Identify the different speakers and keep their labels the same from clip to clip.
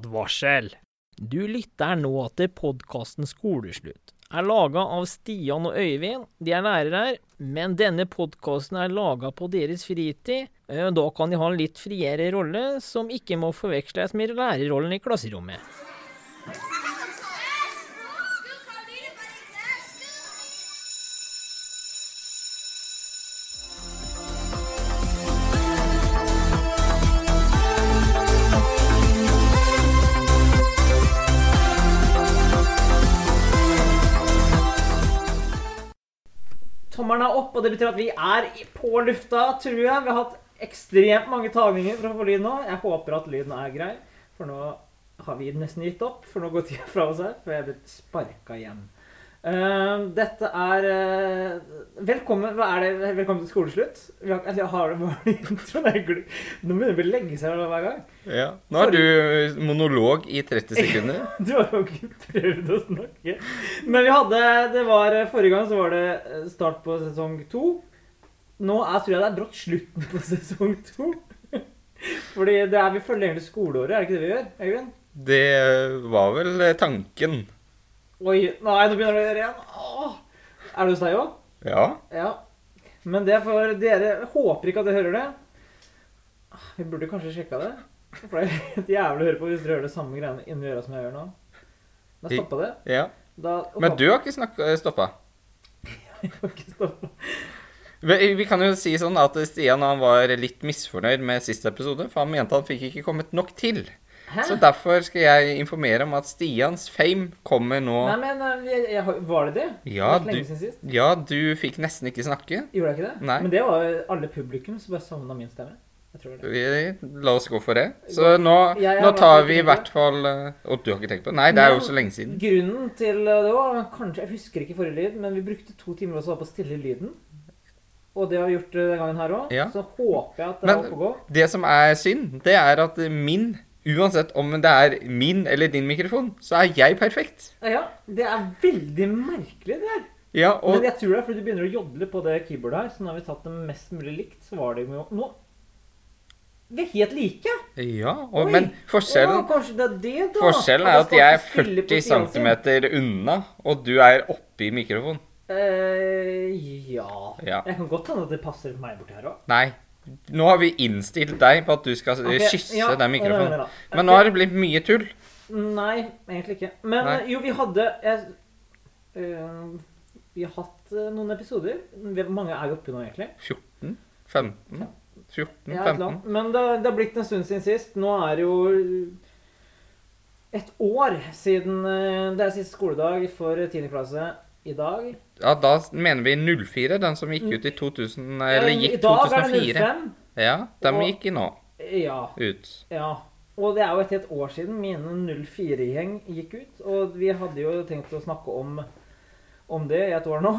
Speaker 1: Advarsel! Du lytter nå til podkasten Skoleslutt. Er laga av Stian og Øyvind. De er lærere her, men denne podkasten er laga på deres fritid. Eh, Da kan de ha en litt friere rolle, som ikke må forveksles med lærerrollen i klasserommet. Tommelen er opp, og det betyr at vi er i- på lufta, tror jeg. Vi har hatt ekstremt mange tagninger for å få lyd nå. Jeg håper at lyden er grei, for nå har vi nesten gitt opp. For nå går tida fra oss her, for jeg er blitt sparka igjen. Ehm, dette er eh, Velkommen hva er det, velkommen til skoleslutt. Vi har, eller har du bare introen? Jeg gl- Nå begynner det å legge seg hver gang.
Speaker 2: Ja. Nå har du monolog i 30 sekunder.
Speaker 1: Du har jo ikke prøvd å snakke. Men vi hadde det var, Forrige gang så var det eh, start på sesong to. Nå er, tror jeg det er brått slutten på sesong to. Fordi det er, vi følger egentlig skoleåret, er det ikke det vi gjør? Øyvind?
Speaker 2: Det var vel tanken.
Speaker 1: Oi, nei, nå begynner det å gjøre igjen. Åh. Er det hos deg òg?
Speaker 2: Ja.
Speaker 1: Ja. Men det er for dere. Jeg håper ikke at dere hører det. Ah, Vi burde kanskje sjekka det. For det er helt jævlig å høre på hvis dere hører det samme greiene inni øra som jeg gjør nå. Da stoppa det.
Speaker 2: ja.
Speaker 1: Da,
Speaker 2: Men du har ikke eh, snakka- stoppa.
Speaker 1: ikke stoppa.
Speaker 2: Vi vi kan jo si sånn at Stian han var litt misfornøyd med siste episode, for han mente han fikk ikke kommet nok til.
Speaker 1: Hæ?
Speaker 2: Så derfor skal jeg informere om at Stians fame kommer nå.
Speaker 1: Nei, men eh, jeg, jeg, har- var det det?
Speaker 2: Ja,
Speaker 1: det var så lenge
Speaker 2: du-
Speaker 1: siden sist.
Speaker 2: Ja, du fikk nesten ikke snakke.
Speaker 1: Gjorde jeg ikke det?
Speaker 2: Nei.
Speaker 1: Men det var jo alle publikum som bare savna min stemme. Jeg tror det.
Speaker 2: Vi- La oss gå for det. Så nå,
Speaker 1: Jeg har
Speaker 2: nå tar
Speaker 1: vært-
Speaker 2: vi i hvert fall eh, Å, du har ikke tenkt på det? Nei, det er jo så lenge siden.
Speaker 1: Grunnen til eh, det var kanskje, Jeg husker ikke forrige lyd, men vi brukte to timer også på å stille lyden. Og det har vi gjort eh, denne gangen her òg.
Speaker 2: Ja.
Speaker 1: Så håper jeg at det
Speaker 2: Men-
Speaker 1: er oppe å gå.
Speaker 2: Det som er synd, det er at min, uansett om det er min eller din mikrofon, så er jeg perfekt.
Speaker 1: Ja, Eh, Ja, det er veldig merkelig, det her.
Speaker 2: Ja,
Speaker 1: Men
Speaker 2: og
Speaker 1: jeg tror det er fordi du begynner å jodle på det keyboardet her. Så nå har vi tatt det mest mulig likt, så var det jo Nå Vi er helt like.
Speaker 2: Ja, og,
Speaker 1: Oi.
Speaker 2: men
Speaker 1: Å,
Speaker 2: forskjellen,
Speaker 1: kanskje det er det, da.
Speaker 2: forskjellen er at
Speaker 1: skal
Speaker 2: jeg er
Speaker 1: ikke spille på
Speaker 2: 40
Speaker 1: siden sin.
Speaker 2: cm unna, og du er oppi mikrofonen.
Speaker 1: Eh, ja.
Speaker 2: Ja.
Speaker 1: Jeg kan godt hende at det passer meg borti her òg.
Speaker 2: Nei. Nå har vi innstilt deg på at du skal eh, kysse den mikrofonen. Men nå har det blitt mye tull.
Speaker 1: Nei, egentlig ikke. Men
Speaker 2: Nei.
Speaker 1: eh, jo, vi hadde jeg, eh, Vi har hatt eh, noen episoder. Hvor mange er vi oppe i nå, egentlig?
Speaker 2: 14? 15? 14?
Speaker 1: Ja, et eller
Speaker 2: 15?
Speaker 1: annet. Men det, det har blitt en stund siden sist. Nå er det jo et år siden eh, det er siste skoledag for 10. klasse i dag.
Speaker 2: Ja, da mener vi 04, den som gikk ut i 2000, eller
Speaker 1: Eh,
Speaker 2: gikk
Speaker 1: Mm. I dag er det
Speaker 2: 2004.
Speaker 1: 05.
Speaker 2: Ja, den
Speaker 1: Og-
Speaker 2: gikk i nå
Speaker 1: Ja.
Speaker 2: ut.
Speaker 1: Ja. Og det er jo et helt år siden mine 04-gjeng gikk ut. Og vi hadde jo tenkt å snakke om, om det i et år nå.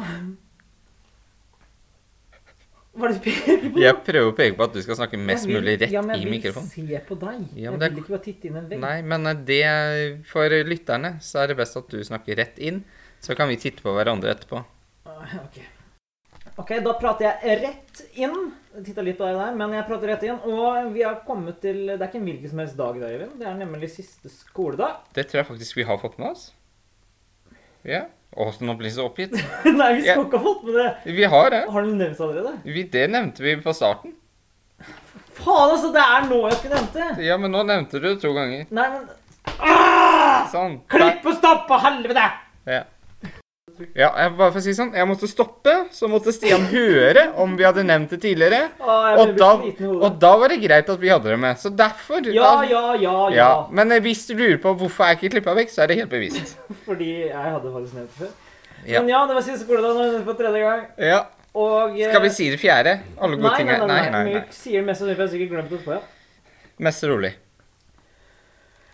Speaker 1: Var det peker på?
Speaker 2: Jeg prøver å peke på at du skal snakke mest
Speaker 1: Jeg vil-
Speaker 2: mulig rett
Speaker 1: ja, men
Speaker 2: i mikrofonen.
Speaker 1: Jeg vil se på deg.
Speaker 2: Ja,
Speaker 1: jeg
Speaker 2: men det er
Speaker 1: vil ikke bare titte inn en vegg.
Speaker 2: Nei, men eh, det For lytterne så er det best at du snakker rett inn. Så kan vi titte på hverandre etterpå.
Speaker 1: Ah, Ok. Ok, da prater jeg rett inn. Titta litt på deg der, men jeg prater rett inn. Og vi har kommet til Det er ikke en hvilken som helst dag i dag, Øyvind. Det er nemlig siste skoledag.
Speaker 2: Det tror jeg faktisk vi har fått med oss. Ja. Å, så nå blir jeg så oppgitt.
Speaker 1: Nei, vi skal
Speaker 2: Ja.
Speaker 1: ikke ha fått med det.
Speaker 2: Vi har det.
Speaker 1: Har den nevnt allerede?
Speaker 2: Vi, det nevnte vi på starten.
Speaker 1: Faen, altså! Det er nå jeg skulle nevnt det!
Speaker 2: Ja, men nå nevnte du det to ganger.
Speaker 1: Nei, men ah!
Speaker 2: Sånn.
Speaker 1: Klipp og stopp og helvete!
Speaker 2: Ja. Ja, jeg bare for å si sånn, jeg måtte stoppe, så måtte Stian høre om vi hadde nevnt det tidligere.
Speaker 1: Ah, jeg
Speaker 2: Og
Speaker 1: blir
Speaker 2: da,
Speaker 1: sliten i hodet.
Speaker 2: og da var det greit at vi hadde det med. Så derfor
Speaker 1: Ja,
Speaker 2: da-
Speaker 1: ja, ja, ja,
Speaker 2: Ja, men eh, hvis du lurer på hvorfor jeg ikke klippa vekk, så er det helt bevisst.
Speaker 1: Fordi jeg hadde faktisk nevnt det før.
Speaker 2: Ja.
Speaker 1: Men ja, det var siste skoledag nå for tredje gang.
Speaker 2: Ja.
Speaker 1: Og eh,
Speaker 2: Skal vi si det fjerde? Alle gode
Speaker 1: nei,
Speaker 2: ting
Speaker 1: nei,
Speaker 2: er
Speaker 1: nei, nei,
Speaker 2: nei,
Speaker 1: Vi sier det mest sannsynlig, for jeg har sikkert glemt det etterpå. Ja.
Speaker 2: Mest rolig.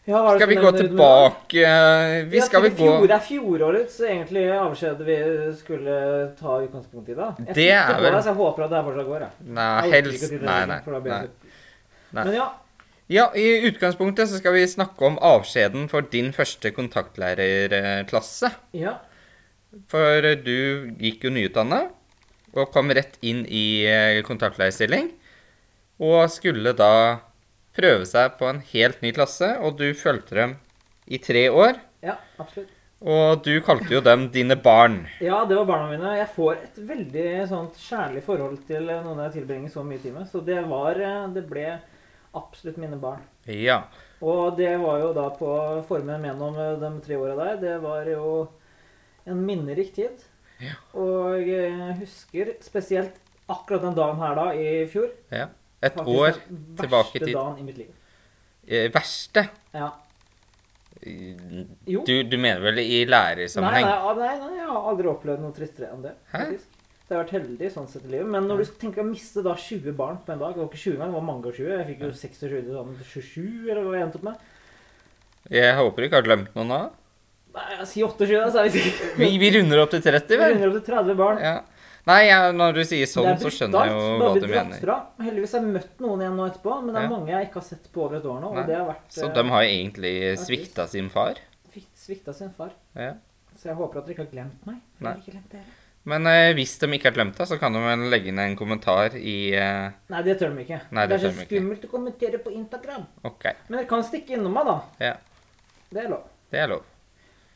Speaker 1: Ja, hva er det
Speaker 2: Skal vi
Speaker 1: som
Speaker 2: gå
Speaker 1: nevner du nå?
Speaker 2: tilbake eh, Vi
Speaker 1: Ja,
Speaker 2: skal
Speaker 1: til
Speaker 2: vel gå
Speaker 1: fjor er fjorårets egentlig avskjed vi skulle ta utgangspunkt i, da. Jeg
Speaker 2: Det
Speaker 1: sitter på
Speaker 2: er vel-
Speaker 1: deg, Så jeg håper at det her fortsatt går, jeg.
Speaker 2: Nei,
Speaker 1: Jeg orker ikke å
Speaker 2: helst
Speaker 1: si det,
Speaker 2: Nei, nei.
Speaker 1: for da blir
Speaker 2: nei.
Speaker 1: jeg så-
Speaker 2: Nei.
Speaker 1: Men ja,
Speaker 2: Ja, i utgangspunktet så skal vi snakke om avskjeden for din første eh, kontaktlærerklasse.
Speaker 1: ja.
Speaker 2: For eh, du gikk jo nyutdanna og kom rett inn i eh, kontaktlærerstilling. Og skulle da prøve seg på en helt ny klasse, og du fulgte dem i tre år.
Speaker 1: Ja, absolutt.
Speaker 2: Og du kalte jo dem dine barn.
Speaker 1: Ja, det var barna mine. Jeg får et veldig eh, sånt kjærlig forhold til eh, noen jeg tilbringer så mye tid med. Så det var eh, Det ble absolutt mine barn.
Speaker 2: Ja.
Speaker 1: Og det var jo da på formen gjennom eh, de tre åra der. Det var jo en minnerik tid.
Speaker 2: Ja.
Speaker 1: Og jeg husker spesielt akkurat den dagen her da i fjor.
Speaker 2: ja. Et
Speaker 1: Faktisk
Speaker 2: år
Speaker 1: den
Speaker 2: tilbake i tid.
Speaker 1: Verste dagen i mitt liv.
Speaker 2: eh, verste.
Speaker 1: Ja. Jo.
Speaker 2: Du, du mener vel i
Speaker 1: Nei,
Speaker 2: lærersammenheng?
Speaker 1: nei, nei, nei, jeg har aldri opplevd noe tristere enn det.
Speaker 2: Hæ?
Speaker 1: faktisk. Det har vært heldig sånn sett i livet. Men når du tenker å miste da 20 barn på en dag Det var ikke 20 engang, det var mange og 20. Jeg fikk jo 26 til sånn 27, eller hva jeg endte opp med.
Speaker 2: Jeg håper du ikke har glemt noen nå.
Speaker 1: Nei, Si 28, da, så er vi sikkert
Speaker 2: Vi, vi runder opp til 30, vel?
Speaker 1: 130 barn.
Speaker 2: Ja. Nei, jeg, når du sier sånn,
Speaker 1: Det er
Speaker 2: så skjønner jeg jo
Speaker 1: brutalt.
Speaker 2: hva
Speaker 1: Da
Speaker 2: du
Speaker 1: blir dratt
Speaker 2: mener.
Speaker 1: Fra. Heldigvis har jeg møtt noen igjen nå etterpå, men det er
Speaker 2: Ja.
Speaker 1: mange jeg ikke har sett på over et år nå.
Speaker 2: Nei.
Speaker 1: Og det har vært
Speaker 2: Så
Speaker 1: eh,
Speaker 2: de har jo egentlig svikta sin far.
Speaker 1: fikk- svikta sin far.
Speaker 2: Ja.
Speaker 1: Så jeg håper at dere ikke har glemt meg. for jeg
Speaker 2: Nei.
Speaker 1: har Ikke glemt dere.
Speaker 2: Men eh, hvis de ikke har glemt deg, så kan de vel legge inn en kommentar i eh,
Speaker 1: Nei, det tør de ikke.
Speaker 2: Nei,
Speaker 1: det er
Speaker 2: det tør de
Speaker 1: så
Speaker 2: ikke.
Speaker 1: skummelt å kommentere på Instagram.
Speaker 2: OK.
Speaker 1: Men dere kan stikke innom meg, da.
Speaker 2: Ja,
Speaker 1: Det er lov.
Speaker 2: det er lov.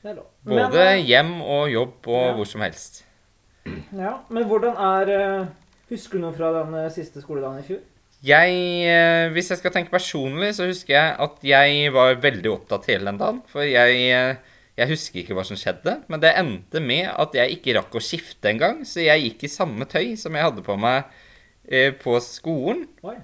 Speaker 1: Det er lov.
Speaker 2: Både
Speaker 1: men, eh,
Speaker 2: hjem og jobb og
Speaker 1: Ja.
Speaker 2: hvor som helst.
Speaker 1: eh, ja, men hvordan er eh, Husker du noe fra den eh, siste skoledagen i fjor?
Speaker 2: Jeg, eh, hvis jeg skal tenke personlig, så husker jeg at jeg var veldig opptatt hele den dagen. For jeg, eh, jeg husker ikke hva som skjedde, men det endte med at jeg ikke rakk å skifte engang. Så jeg gikk i samme tøy som jeg hadde på meg eh, på skolen.
Speaker 1: Oi.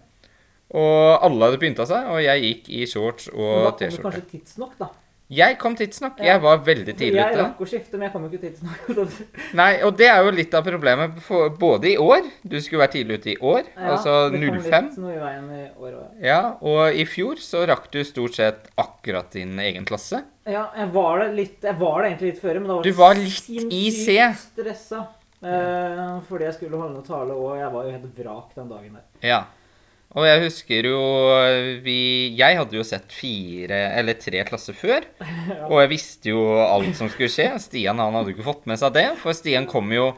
Speaker 2: Og alle hadde pynta seg, og jeg gikk i shorts
Speaker 1: Men da
Speaker 2: og
Speaker 1: kom du
Speaker 2: T-skjorte.
Speaker 1: kanskje tidsnok, da.
Speaker 2: Jeg kom tidsnok.
Speaker 1: Ja.
Speaker 2: Jeg var veldig tidlig
Speaker 1: jeg
Speaker 2: ute.
Speaker 1: rakk å skifte, men jeg kom jo ikke tidsnok.
Speaker 2: Nei, og det er jo litt av problemet for, både i år. Du skulle vært tidlig ute i år,
Speaker 1: Ja,
Speaker 2: altså
Speaker 1: det kom
Speaker 2: 05.
Speaker 1: litt Noe i veien i år også.
Speaker 2: Ja, og i fjor så rakk du stort sett akkurat din egen klasse.
Speaker 1: Ja, jeg var det, litt, jeg var det egentlig litt før, men da var
Speaker 2: Du
Speaker 1: jeg
Speaker 2: var litt
Speaker 1: sinnssykt
Speaker 2: i C.
Speaker 1: stressa. Eh, fordi jeg skulle holde noe tale, og jeg var jo helt vrak den dagen der.
Speaker 2: Ja. Og jeg husker jo vi Jeg hadde jo sett fire eller tre klasser før. Og jeg visste jo alt som skulle skje. Stian han hadde jo ikke fått med seg det, for Stian kom jo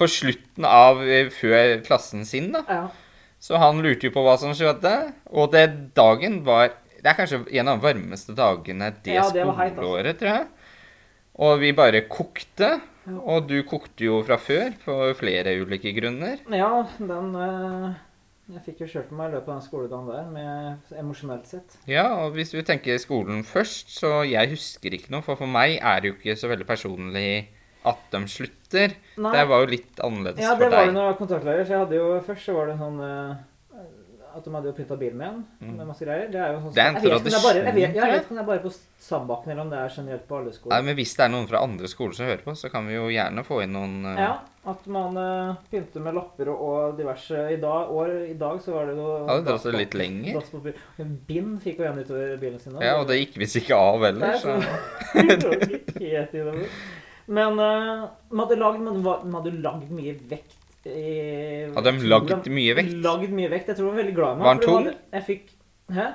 Speaker 2: på slutten av eh, før klassen sin, da.
Speaker 1: Ja,
Speaker 2: Så han lurte jo på hva som skjedde, og det dagen var Det er kanskje en av de varmeste dagene det,
Speaker 1: Ja, det var heit, altså.
Speaker 2: skoleåret, tror jeg. Og vi bare kokte. Og du kokte jo fra før, på flere ulike grunner.
Speaker 1: ja den eh, Jeg fikk jo kjørt meg i løpet av den skoledagen der, med, emosjonelt sett.
Speaker 2: Ja, og hvis vi tenker skolen først, så jeg husker ikke noe, for for meg er det jo ikke så veldig personlig at de slutter.
Speaker 1: Nei.
Speaker 2: Det var jo litt annerledes
Speaker 1: Ja, det
Speaker 2: for
Speaker 1: var jo
Speaker 2: deg.
Speaker 1: når jeg var kontaktlærer, så jeg hadde jo Først så var det en sånn eh, At de hadde jo pynta bilen min med masse greier. Det er jo sånn
Speaker 2: Mm. Det
Speaker 1: jeg vet ikke om det er
Speaker 2: er en
Speaker 1: bare- Jeg vet,
Speaker 2: tradisjon,
Speaker 1: ja,
Speaker 2: tror
Speaker 1: jeg
Speaker 2: jeg.
Speaker 1: vet ikke om det er bare på Sandbakken, eller om det er generelt på alle skoler.
Speaker 2: Nei, men hvis det er noen fra andre skoler som hører på, så kan vi jo gjerne få inn noen eh,
Speaker 1: Ja, at man eh, pynter med lapper og, og diverse. I dag, år, I dag så var det noe
Speaker 2: Ja, det drar seg litt lenger.
Speaker 1: dasspapir. Bind fikk jo igjen utover bilen sin. da.
Speaker 2: Ja, og det gikk visst ikke av
Speaker 1: Nei,
Speaker 2: heller, så
Speaker 1: så- sånn- det var ikke helt innover. Men eh, man hadde lagd, man var- man hadde lagd mye vekt. i-
Speaker 2: Hadde de lagd mye vekt?
Speaker 1: Lagd mye vekt. Jeg tror de var veldig glad i meg.
Speaker 2: Var den
Speaker 1: for
Speaker 2: tung?
Speaker 1: det Jeg fikk Hæ?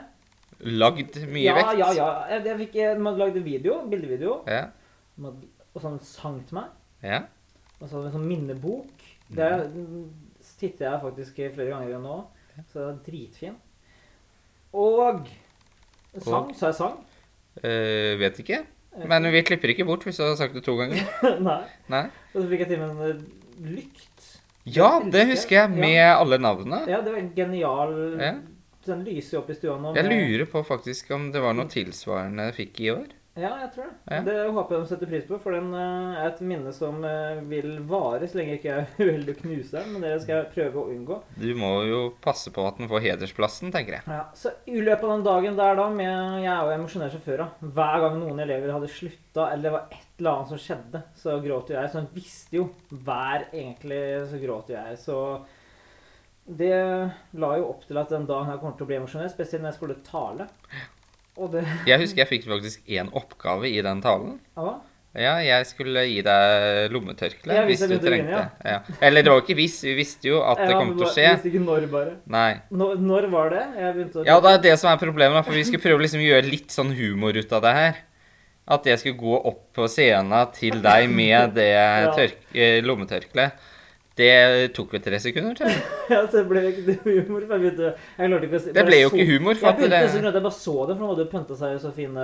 Speaker 2: Lagd mye
Speaker 1: ja,
Speaker 2: vekt?
Speaker 1: Ja, ja. Jeg, jeg fikk, eh, man lagde video, bildevideo,
Speaker 2: ja.
Speaker 1: man- og sånn sang til meg.
Speaker 2: Ja.
Speaker 1: Og så hadde vi en sånn minnebok. Det er-
Speaker 2: Mm.
Speaker 1: titter jeg faktisk i flere ganger igjen nå. Så det er dritfin. Og sang, sa jeg sang?
Speaker 2: Eh, vet ikke. Men vi klipper ikke bort hvis du har sagt det to ganger.
Speaker 1: Nei.
Speaker 2: Nei.
Speaker 1: Og så fikk jeg til med en eh, lykt.
Speaker 2: Ja,
Speaker 1: Det
Speaker 2: det
Speaker 1: elsker
Speaker 2: husker jeg,
Speaker 1: jeg.
Speaker 2: med alle navnene.
Speaker 1: Ja, det var en genial
Speaker 2: Ja.
Speaker 1: Den lyser jo opp i stua nå.
Speaker 2: Jeg
Speaker 1: med-
Speaker 2: lurer på faktisk om det var noe tilsvarende jeg fikk i år.
Speaker 1: Ja, jeg tror det.
Speaker 2: Ja.
Speaker 1: Det håper jeg de setter pris på, for den eh, er et minne som eh, vil vare så lenge jeg ikke er uheldig å knuse den, men det skal
Speaker 2: Mm.
Speaker 1: jeg prøve å unngå.
Speaker 2: Du må jo passe på at den får hedersplassen, tenker jeg.
Speaker 1: Ja, så I løpet av den dagen der, da med, Jeg er jo emosjonell sjåfør. da. Hver gang noen elever hadde slutta, eller det var et eller annet som skjedde, så gråt jo jeg. Så han visste jo hver egentlig så gråt jo jeg. Så det la jo opp til at den dagen her kommer til å bli emosjonell, spesielt når jeg skulle tale. Og det
Speaker 2: Jeg husker jeg fikk faktisk én oppgave i den talen.
Speaker 1: Ja,
Speaker 2: Ja, jeg skulle gi deg lommetørkle
Speaker 1: Ja, hvis
Speaker 2: hvis
Speaker 1: jeg
Speaker 2: du
Speaker 1: begynte å grine,
Speaker 2: trengte. Ja. Eller det var ikke hvis, vi visste jo at det
Speaker 1: Ja,
Speaker 2: kom
Speaker 1: men
Speaker 2: til å
Speaker 1: bare-
Speaker 2: skje.
Speaker 1: Visste ikke når, bare.
Speaker 2: Nei.
Speaker 1: Når, når var det? Jeg begynte å
Speaker 2: Ja, det er det som er problemet, da, for vi skulle prøve liksom å gjøre litt sånn humor ut av det her. At jeg skulle gå opp på scenen til deg med det tørk- eh, lommetørkleet. Det tok vel tre sekunder, tror jeg.
Speaker 1: Ja, så ble det ikke noe humor. For jeg, begynte, jeg klarte ikke å
Speaker 2: Det ble jo ikke humor. For
Speaker 1: Jeg
Speaker 2: at
Speaker 1: begynte nesten
Speaker 2: det,
Speaker 1: grunn til at jeg bare så det, for han hadde pynta seg i så fine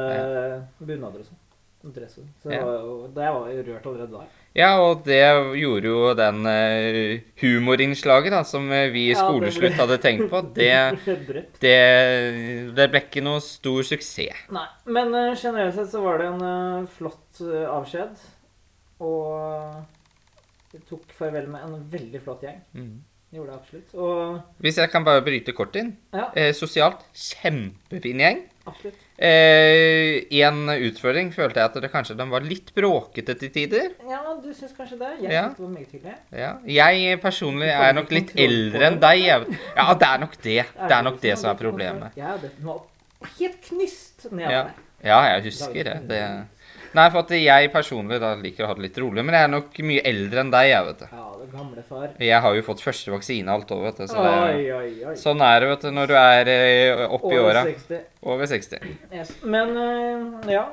Speaker 1: bunader og sånn. Og dresser. Så jeg
Speaker 2: Ja.
Speaker 1: var, jo- da jeg var jo rørt allerede da.
Speaker 2: ja, og det gjorde jo den eh, humorinnslaget da, som eh, vi
Speaker 1: Ja,
Speaker 2: i
Speaker 1: det ble-
Speaker 2: skoleslutt hadde tenkt på. Det,
Speaker 1: ble drept.
Speaker 2: det, det ble ikke noe stor suksess.
Speaker 1: Nei. Men eh, generelt sett så var det en eh, flott eh, avskjed. Og jeg tok farvel med en veldig flott gjeng.
Speaker 2: Mm.
Speaker 1: Gjorde det absolutt. Og
Speaker 2: Hvis jeg kan bare bryte kort inn.
Speaker 1: ja,
Speaker 2: Eh, sosialt kjempefin gjeng.
Speaker 1: absolutt.
Speaker 2: Eh, I en utføring følte jeg at det kanskje de var litt bråkete til tider.
Speaker 1: Ja, du syns kanskje det? Jeg
Speaker 2: Ja.
Speaker 1: synes det var meget hyggelig.
Speaker 2: Ja. Jeg
Speaker 1: Du
Speaker 2: personlig
Speaker 1: får
Speaker 2: er
Speaker 1: ikke
Speaker 2: nok litt
Speaker 1: kontroll på
Speaker 2: eldre enn
Speaker 1: det.
Speaker 2: deg. Jeg. Ja, det er nok det. Det er nok det som er problemet.
Speaker 1: Ja, det var helt knust ned
Speaker 2: Ja.
Speaker 1: av meg.
Speaker 2: Ja, jeg husker det. det. Nei, for at jeg personlig da liker å ha det litt rolig, men jeg er nok mye eldre enn deg, jeg, vet du.
Speaker 1: Ja, det gamle far.
Speaker 2: Jeg har jo fått første vaksine alt over, vet du. Så det,
Speaker 1: Oi, oi, oi.
Speaker 2: sånn er det, vet du, når du er eh, oppi
Speaker 1: Over
Speaker 2: åra.
Speaker 1: 60.
Speaker 2: Over 60.
Speaker 1: Yes. Men eh, ja.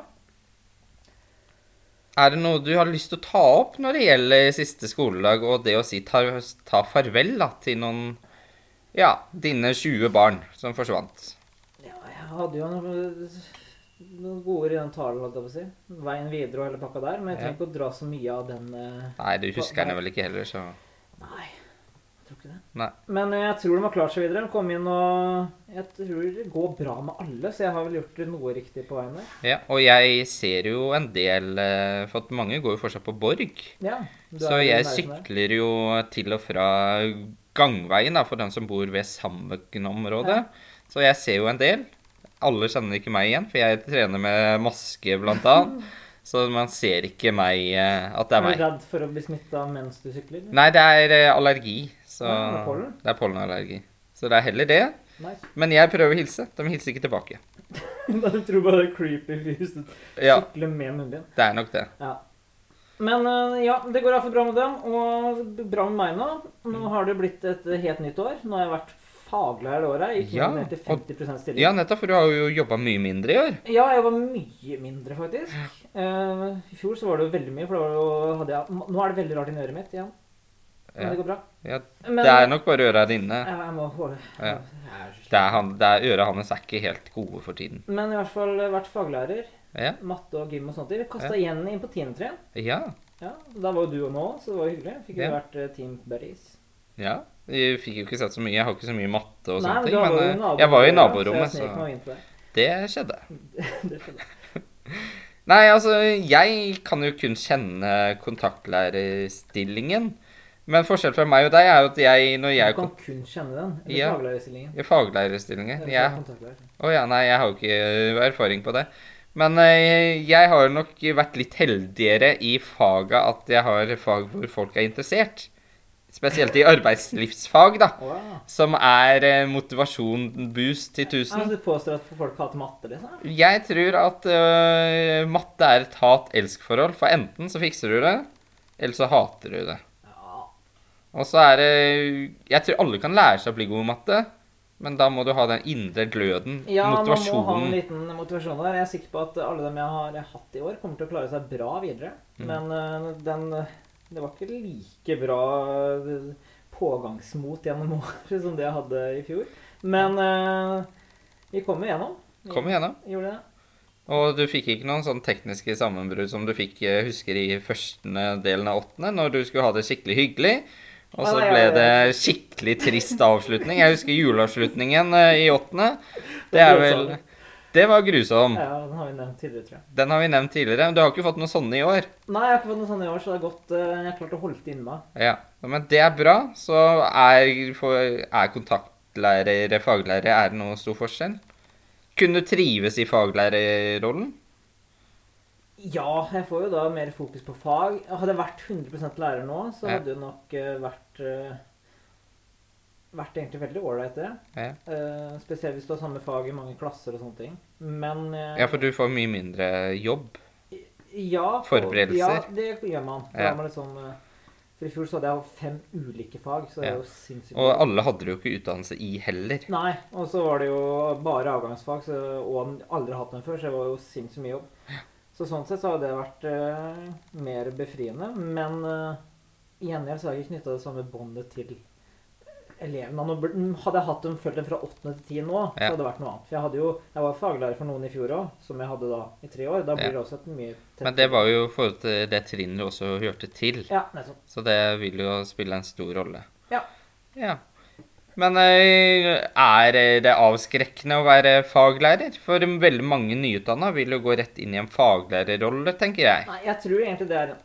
Speaker 2: Er det noe du har lyst til å ta opp når det gjelder siste skoledag, og det å si ta, ta farvel da, til noen Ja, dine 20 barn som forsvant?
Speaker 1: ja. Jeg hadde jo noen, noen gode ord i den talen, holdt jeg på å si. Veien videre og hele pakka der. Men jeg trenger ikke å dra så mye av den eh,
Speaker 2: Nei, du husker henne vel ikke heller, så
Speaker 1: Nei. Jeg tror ikke det.
Speaker 2: Nei.
Speaker 1: Men eh, jeg tror de har klart seg videre. De kom inn og Jeg tror det går bra med alle, så jeg har vel gjort noe riktig på veien der.
Speaker 2: Ja, og jeg ser jo en del eh, For at mange går jo fortsatt på Borg.
Speaker 1: Ja, du
Speaker 2: Så
Speaker 1: er i
Speaker 2: jeg
Speaker 1: nærheten der.
Speaker 2: sykler jo til og fra gangveien, da, for dem som bor ved Sandbøkken-området. Så jeg ser jo en del. Alle kjenner ikke meg igjen, for jeg trener med maske, blant annet. Så man ser ikke meg eh, at det
Speaker 1: Er
Speaker 2: er
Speaker 1: du
Speaker 2: meg.
Speaker 1: redd for å bli smitta mens du sykler? eller?
Speaker 2: Nei, det er eh, allergi. Så
Speaker 1: Ja, det er pollen.
Speaker 2: det er pollenallergi. Så det er heller det.
Speaker 1: Nice.
Speaker 2: Men jeg prøver å hilse. De hilser ikke tilbake.
Speaker 1: du tror bare det er creepy hvis du
Speaker 2: Ja,
Speaker 1: sykler med munnbind.
Speaker 2: det er nok det.
Speaker 1: Ja. Men eh, ja, det går iallfall bra med dem, og bra med meg nå.
Speaker 2: Mm.
Speaker 1: Nå har det blitt et eh, helt nytt år. Nå har jeg vært faglærer det året. Jeg Gikk
Speaker 2: Ja,
Speaker 1: ned til
Speaker 2: og-
Speaker 1: 50 stilling.
Speaker 2: Ja, nettopp, for du har jo jobba mye mindre i år.
Speaker 1: Ja, jeg var mye mindre, faktisk. Eh, I fjor så var det jo veldig mye, for da var det jo, hadde jeg Nå er det veldig rart inni øret mitt igjen. Men
Speaker 2: Ja.
Speaker 1: det går bra.
Speaker 2: Ja,
Speaker 1: Men
Speaker 2: Det er nok bare øra dine.
Speaker 1: ja, jeg må holde
Speaker 2: Ja.
Speaker 1: Jeg er så-
Speaker 2: Det er, han, det er øra hans er ikke helt gode for tiden.
Speaker 1: Men i hvert fall vært faglærer.
Speaker 2: Ja.
Speaker 1: Matte og gym og sånt. Vi kasta igjen inn på tiendetrinn.
Speaker 2: Ja.
Speaker 1: Ja, da var jo du og nå, så det var jo hyggelig. Fikk jo
Speaker 2: Ja.
Speaker 1: vært eh, Team Buddies.
Speaker 2: ja. Jeg fikk jo ikke sett så mye. Jeg har ikke så mye matte og
Speaker 1: Nei,
Speaker 2: sånne
Speaker 1: men
Speaker 2: ting.
Speaker 1: da var
Speaker 2: Men
Speaker 1: du
Speaker 2: eh, jeg var jo i
Speaker 1: naborommet,
Speaker 2: naborommet,
Speaker 1: så jeg snek
Speaker 2: så
Speaker 1: meg inn på det.
Speaker 2: det skjedde.
Speaker 1: Det skjedde.
Speaker 2: Nei, altså, jeg kan jo kun kjenne kontaktlærerstillingen. Men forskjellen fra meg og deg er jo at jeg, når jeg
Speaker 1: Du kan kun kjenne den. Eller
Speaker 2: Ja.
Speaker 1: faglærerstillingen.
Speaker 2: i faglærerstillingen
Speaker 1: Eller
Speaker 2: jeg,
Speaker 1: kontaktlærer.
Speaker 2: Å ja, nei, jeg har jo ikke øh, erfaring på det. Men eh, jeg har jo nok vært litt heldigere i faga at jeg har fag hvor folk er interessert. Spesielt i arbeidslivsfag, da.
Speaker 1: Å, ja.
Speaker 2: Som er eh, motivasjon boost til
Speaker 1: Altså,
Speaker 2: 1000.
Speaker 1: du påstår at folk hater matte, liksom?
Speaker 2: Jeg tror at øh, matte er et hat-elsk-forhold. For enten så fikser du det, eller så hater du det.
Speaker 1: Ja.
Speaker 2: Og så er det Jeg tror alle kan lære seg å bli god i matte, men da må du ha den indre gløden,
Speaker 1: ja, man må ha en
Speaker 2: motivasjonen.
Speaker 1: liten motivasjon der. Jeg er sikker på at alle dem jeg har hatt i år, kommer til å klare seg bra videre.
Speaker 2: Mm.
Speaker 1: Men eh, den Det var ikke like bra eh, pågangsmot gjennom året som det jeg hadde i fjor. Men eh, vi kom jo gjennom.
Speaker 2: Kom igjennom.
Speaker 1: Gjorde det.
Speaker 2: Og du fikk ikke noen sånn tekniske sammenbrudd som du fikk eh, husker i første delen av åttende, når du skulle ha det skikkelig hyggelig. Og så
Speaker 1: Nei, ja,
Speaker 2: ble
Speaker 1: ja.
Speaker 2: det skikkelig trist avslutning. Jeg husker juleavslutningen eh, i åttende. Det er vel Det var grusom.
Speaker 1: Ja, den har vi nevnt tidligere, tror jeg.
Speaker 2: Den har vi nevnt tidligere. men Du har ikke fått noen sånne i år.
Speaker 1: Nei, jeg har ikke fått noe sånt i år, så det er godt eh, jeg har klart å holde det inne.
Speaker 2: Ja, Men det er bra. Så er, for, er kontaktlærere, faglærere, er det noe stor forskjell? Kunne du trives i faglærerrollen?
Speaker 1: Ja, jeg får jo da mer fokus på fag. Hadde jeg vært 100 lærer nå, så
Speaker 2: Ja.
Speaker 1: hadde det nok eh, vært eh, Vært egentlig veldig ålreit, det.
Speaker 2: Ja.
Speaker 1: Eh, spesielt hvis du har samme fag i mange klasser og sånne ting. Men eh,
Speaker 2: Ja, for du får mye mindre jobb.
Speaker 1: ja,
Speaker 2: Forberedelser.
Speaker 1: Ja, det gjør man. For,
Speaker 2: Ja.
Speaker 1: da er man liksom, eh, for i fjor så hadde jeg jo fem ulike fag, så det
Speaker 2: Ja.
Speaker 1: er jo sinnssykt.
Speaker 2: Og alle hadde det jo ikke utdannelse i heller.
Speaker 1: Nei, og så var det jo bare avgangsfag, så, og aldri hatt den før, så det var jo sinnssykt mye jobb. Så sånn sett så har det vært eh, mer befriende, men eh, i gjengjeld så har jeg ikke knytta det samme båndet til elevene. Nå burde- mm, Hadde jeg hatt dem følt dem fra 8. til 10 nå, så
Speaker 2: Ja.
Speaker 1: hadde det vært noe annet. For jeg, hadde jo, jeg var faglærer for noen i fjor òg, som jeg hadde da i tre år. Da blir
Speaker 2: Ja.
Speaker 1: det også et mye tettere
Speaker 2: Men det var jo i forhold til det trinnet også hørte til.
Speaker 1: Ja, nettopp.
Speaker 2: Så det vil jo spille en stor rolle.
Speaker 1: Ja.
Speaker 2: Ja. Men eh, er det avskrekkende å være faglærer? For veldig mange nyutdanna vil jo gå rett inn i en faglærerrolle, tenker jeg.
Speaker 1: Nei, jeg tror egentlig det er en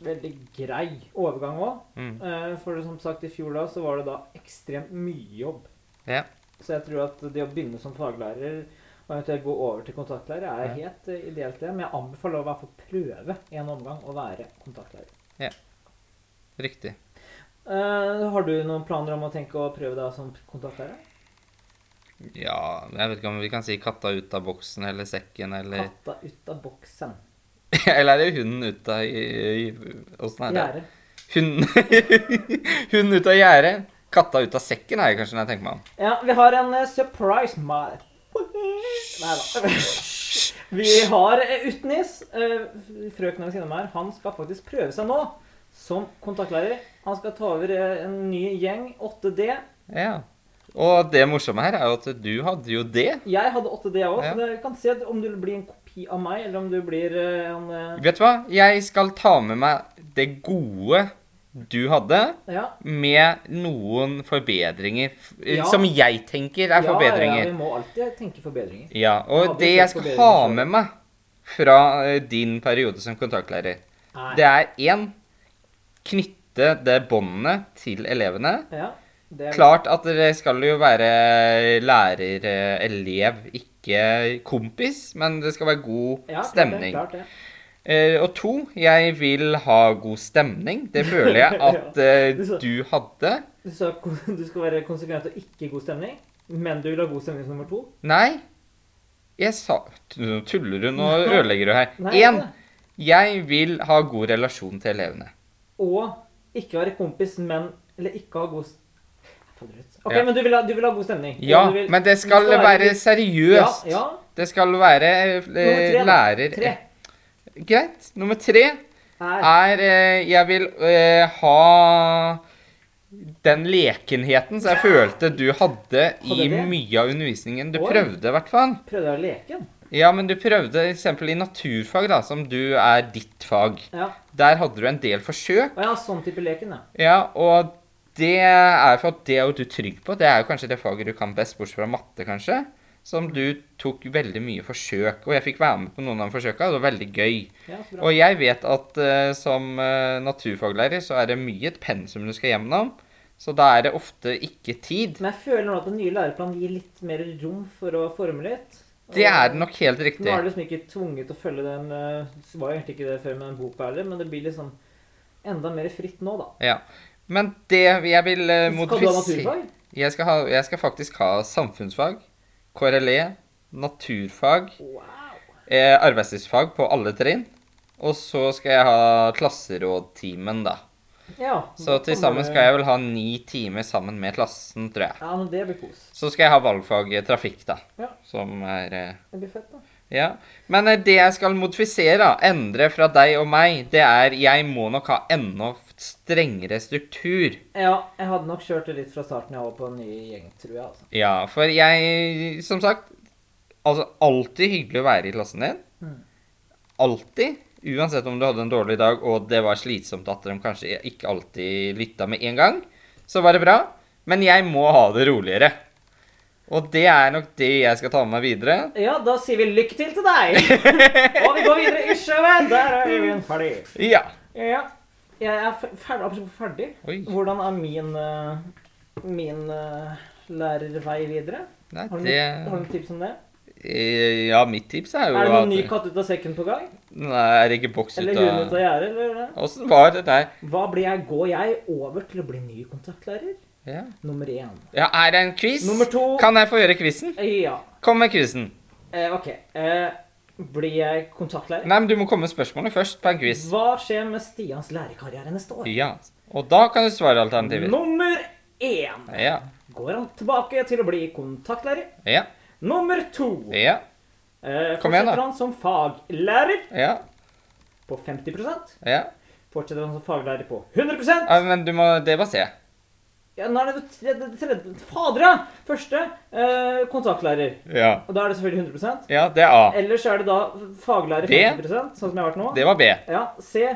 Speaker 1: veldig grei overgang òg.
Speaker 2: Mm.
Speaker 1: For som sagt, i fjor da så var det da ekstremt mye jobb.
Speaker 2: Ja.
Speaker 1: Så jeg tror at det å begynne som faglærer og eventuelt gå over til kontaktlærer er helt eh, ideelt det. Men jeg anbefaler å i hvert fall prøve i en omgang å være kontaktlærer.
Speaker 2: Riktig.
Speaker 1: Eh, har du noen planer om å tenke å prøve deg som kontaktlærer?
Speaker 2: Ja, jeg vet ikke om vi kan si katta ut av boksen eller sekken eller
Speaker 1: Katta ut av boksen.
Speaker 2: Eller er det hunden ut av i- i- Åssen er det?
Speaker 1: Gjerdet.
Speaker 2: Hunden Hunden ut av gjerdet. Katta ut av sekken er det kanskje når jeg tenker meg om.
Speaker 1: Ja, vi har en eh, surprise mat. Nei da. Vi har eh, Utnis, eh, frøken ved siden av meg, her, han skal faktisk prøve seg nå som kontaktlærer. Han skal ta over eh, en ny gjeng, 8D.
Speaker 2: Ja. Og det morsomme her er jo at du hadde jo det.
Speaker 1: Jeg hadde 8D òg,
Speaker 2: Ja.
Speaker 1: så det- vi kan se om du blir en kopi av meg, eller om du blir eh, en eh,
Speaker 2: Vet du hva? Jeg skal ta med meg det gode du hadde,
Speaker 1: Ja.
Speaker 2: med noen forbedringer. f- eh,
Speaker 1: Ja.
Speaker 2: Som jeg tenker er
Speaker 1: Ja, ja,
Speaker 2: forbedringer.
Speaker 1: vi må alltid tenke forbedringer.
Speaker 2: Ja,
Speaker 1: Jeg
Speaker 2: og
Speaker 1: hadde
Speaker 2: det
Speaker 1: ikke
Speaker 2: jeg
Speaker 1: fått
Speaker 2: skal ha
Speaker 1: forbedringer selv.
Speaker 2: med meg fra eh, din periode som kontaktlærer,
Speaker 1: Nei.
Speaker 2: det er én Knytte det båndet til elevene.
Speaker 1: Ja, det er
Speaker 2: Klart at dere skal jo være lærer-elev, ikke kompis, men det skal være god
Speaker 1: ja, klart det,
Speaker 2: stemning.
Speaker 1: Klart det.
Speaker 2: Eh, og to, jeg vil ha god stemning. Det føler jeg at eh,
Speaker 1: Du sa-
Speaker 2: du hadde.
Speaker 1: Du sa ko- du skal være konsekvent og ikke god stemning, men du vil ha god stemning som nummer to.
Speaker 2: Nei, jeg sa Nå tuller du, nå
Speaker 1: Nei.
Speaker 2: ødelegger du her.
Speaker 1: Nei,
Speaker 2: Én,
Speaker 1: det-
Speaker 2: jeg vil ha god relasjon til elevene.
Speaker 1: Og ikke være kompis, men Eller ikke ha god s- Fader ut. Ok,
Speaker 2: Ja.
Speaker 1: men du vil, ha, du vil ha god stemning? Og
Speaker 2: Ja,
Speaker 1: du vil,
Speaker 2: men det skal
Speaker 1: du
Speaker 2: være
Speaker 1: Ja,
Speaker 2: seriøst.
Speaker 1: ja.
Speaker 2: Det skal være eh,
Speaker 1: tre, da.
Speaker 2: lærer
Speaker 1: Tre.
Speaker 2: Greit. Nummer tre
Speaker 1: Er.
Speaker 2: er eh, Jeg vil eh, ha den lekenheten som jeg følte du hadde i
Speaker 1: Hadde det?
Speaker 2: mye av undervisningen. Du
Speaker 1: Oi.
Speaker 2: prøvde, i hvert fall.
Speaker 1: Prøvde jeg å leke?
Speaker 2: Ja, men du prøvde f.eks. i naturfag, da, som du er ditt fag.
Speaker 1: Ja.
Speaker 2: Der hadde du en del forsøk.
Speaker 1: Å ja, sånn type leken, ja.
Speaker 2: Ja, og det er for at det er jo du trygg på. Det er jo kanskje det faget du kan best, bortsett fra matte, kanskje. Som du tok veldig mye forsøk. Og jeg fikk være med på noen av forsøka, og det var veldig gøy.
Speaker 1: ja så bra.
Speaker 2: Og jeg vet at eh, som eh, naturfaglærer så er det mye et pensum du skal gjennom. Så da er det ofte ikke tid.
Speaker 1: Men jeg føler nå at den nye læreplanen gir litt mer rom for å forme litt. Og
Speaker 2: Det er nok helt
Speaker 1: Nå
Speaker 2: riktig.
Speaker 1: er du liksom ikke tvunget til å følge den eh, Det var jo egentlig ikke det før med den boka heller, men det blir liksom enda mer fritt nå, da.
Speaker 2: Ja. Men det jeg vil eh,
Speaker 1: Skal du ha
Speaker 2: modifisere
Speaker 1: naturfag?
Speaker 2: jeg skal, ha, jeg skal faktisk ha samfunnsfag, KRLE, E, naturfag,
Speaker 1: Wow.
Speaker 2: eh, arbeidslivsfag på alle trinn. Og så skal jeg ha klasserådtimen, da.
Speaker 1: Ja.
Speaker 2: Så til sammen skal jeg vel ha ni timer sammen med klassen, tror jeg.
Speaker 1: Ja, men det blir kos.
Speaker 2: Så skal jeg ha valgfag eh, trafikk, da.
Speaker 1: Ja.
Speaker 2: Som er eh,
Speaker 1: Det blir fett, da.
Speaker 2: Ja. Men eh, det jeg skal modifisere, da, endre fra deg og meg, det er jeg må nok ha enda strengere struktur.
Speaker 1: Ja, jeg hadde nok kjørt det litt fra starten jeg var på en ny gjeng, tror jeg. altså.
Speaker 2: Ja, for jeg Som sagt, altså alltid hyggelig å være i klassen din.
Speaker 1: Mm.
Speaker 2: Alltid. Uansett om du hadde en dårlig dag og det var slitsomt at de kanskje ikke alltid lytta med en gang, så var det bra. Men jeg må ha det roligere. Og det er nok det jeg skal ta med meg videre.
Speaker 1: Ja, da sier vi lykke til til deg! Og vi går videre i sjøen! Der er Øyvind ferdig.
Speaker 2: Ja.
Speaker 1: Ja, jeg er fe- ferdig, absolutt ferdig.
Speaker 2: Oi.
Speaker 1: Hvordan er min, eh, min eh, lærervei videre?
Speaker 2: Nei,
Speaker 1: Har du,
Speaker 2: det
Speaker 1: noen, har du noen tips om det?
Speaker 2: eh, Ja, mitt tips er jo
Speaker 1: Er det
Speaker 2: at-
Speaker 1: noen ny katt ut av sekken på gang?
Speaker 2: Nei, er det ikke boks ut
Speaker 1: Eller hund ut
Speaker 2: av
Speaker 1: av gjerdet? eller det?
Speaker 2: Åssen var det der?
Speaker 1: Hva blir jeg, går jeg over til å bli ny kontaktlærer?
Speaker 2: Ja.
Speaker 1: Nummer én.
Speaker 2: ja, er det en quiz?
Speaker 1: Nummer to.
Speaker 2: Kan jeg få gjøre quizen?
Speaker 1: Ja.
Speaker 2: Kom med quizen.
Speaker 1: Eh, OK. Eh, blir jeg kontaktlærer?
Speaker 2: Nei, men du må komme med spørsmålet først på en quiz.
Speaker 1: Hva skjer med Stians lærerkarriere neste år?
Speaker 2: Ja. Og da kan du svare alternativer.
Speaker 1: Nummer én.
Speaker 2: Ja.
Speaker 1: Går han tilbake til å bli kontaktlærer?
Speaker 2: Ja.
Speaker 1: Nummer to.
Speaker 2: Ja.
Speaker 1: Eh,
Speaker 2: Kom igjen, da.
Speaker 1: fortsetter han som faglærer
Speaker 2: Ja.
Speaker 1: på 50
Speaker 2: Ja.
Speaker 1: På fortsetter han som faglærer på 100
Speaker 2: Ja, men du må Det var C.
Speaker 1: ja, Nå er det det tredje, det tredje Fader, ja! Første eh, kontaktlærer.
Speaker 2: Ja.
Speaker 1: Og da er det selvfølgelig 100
Speaker 2: ja, det er A.
Speaker 1: Ellers er det da faglærer
Speaker 2: Det-
Speaker 1: 50 sånn som jeg har vært nå.
Speaker 2: Det var B.
Speaker 1: Ja, C.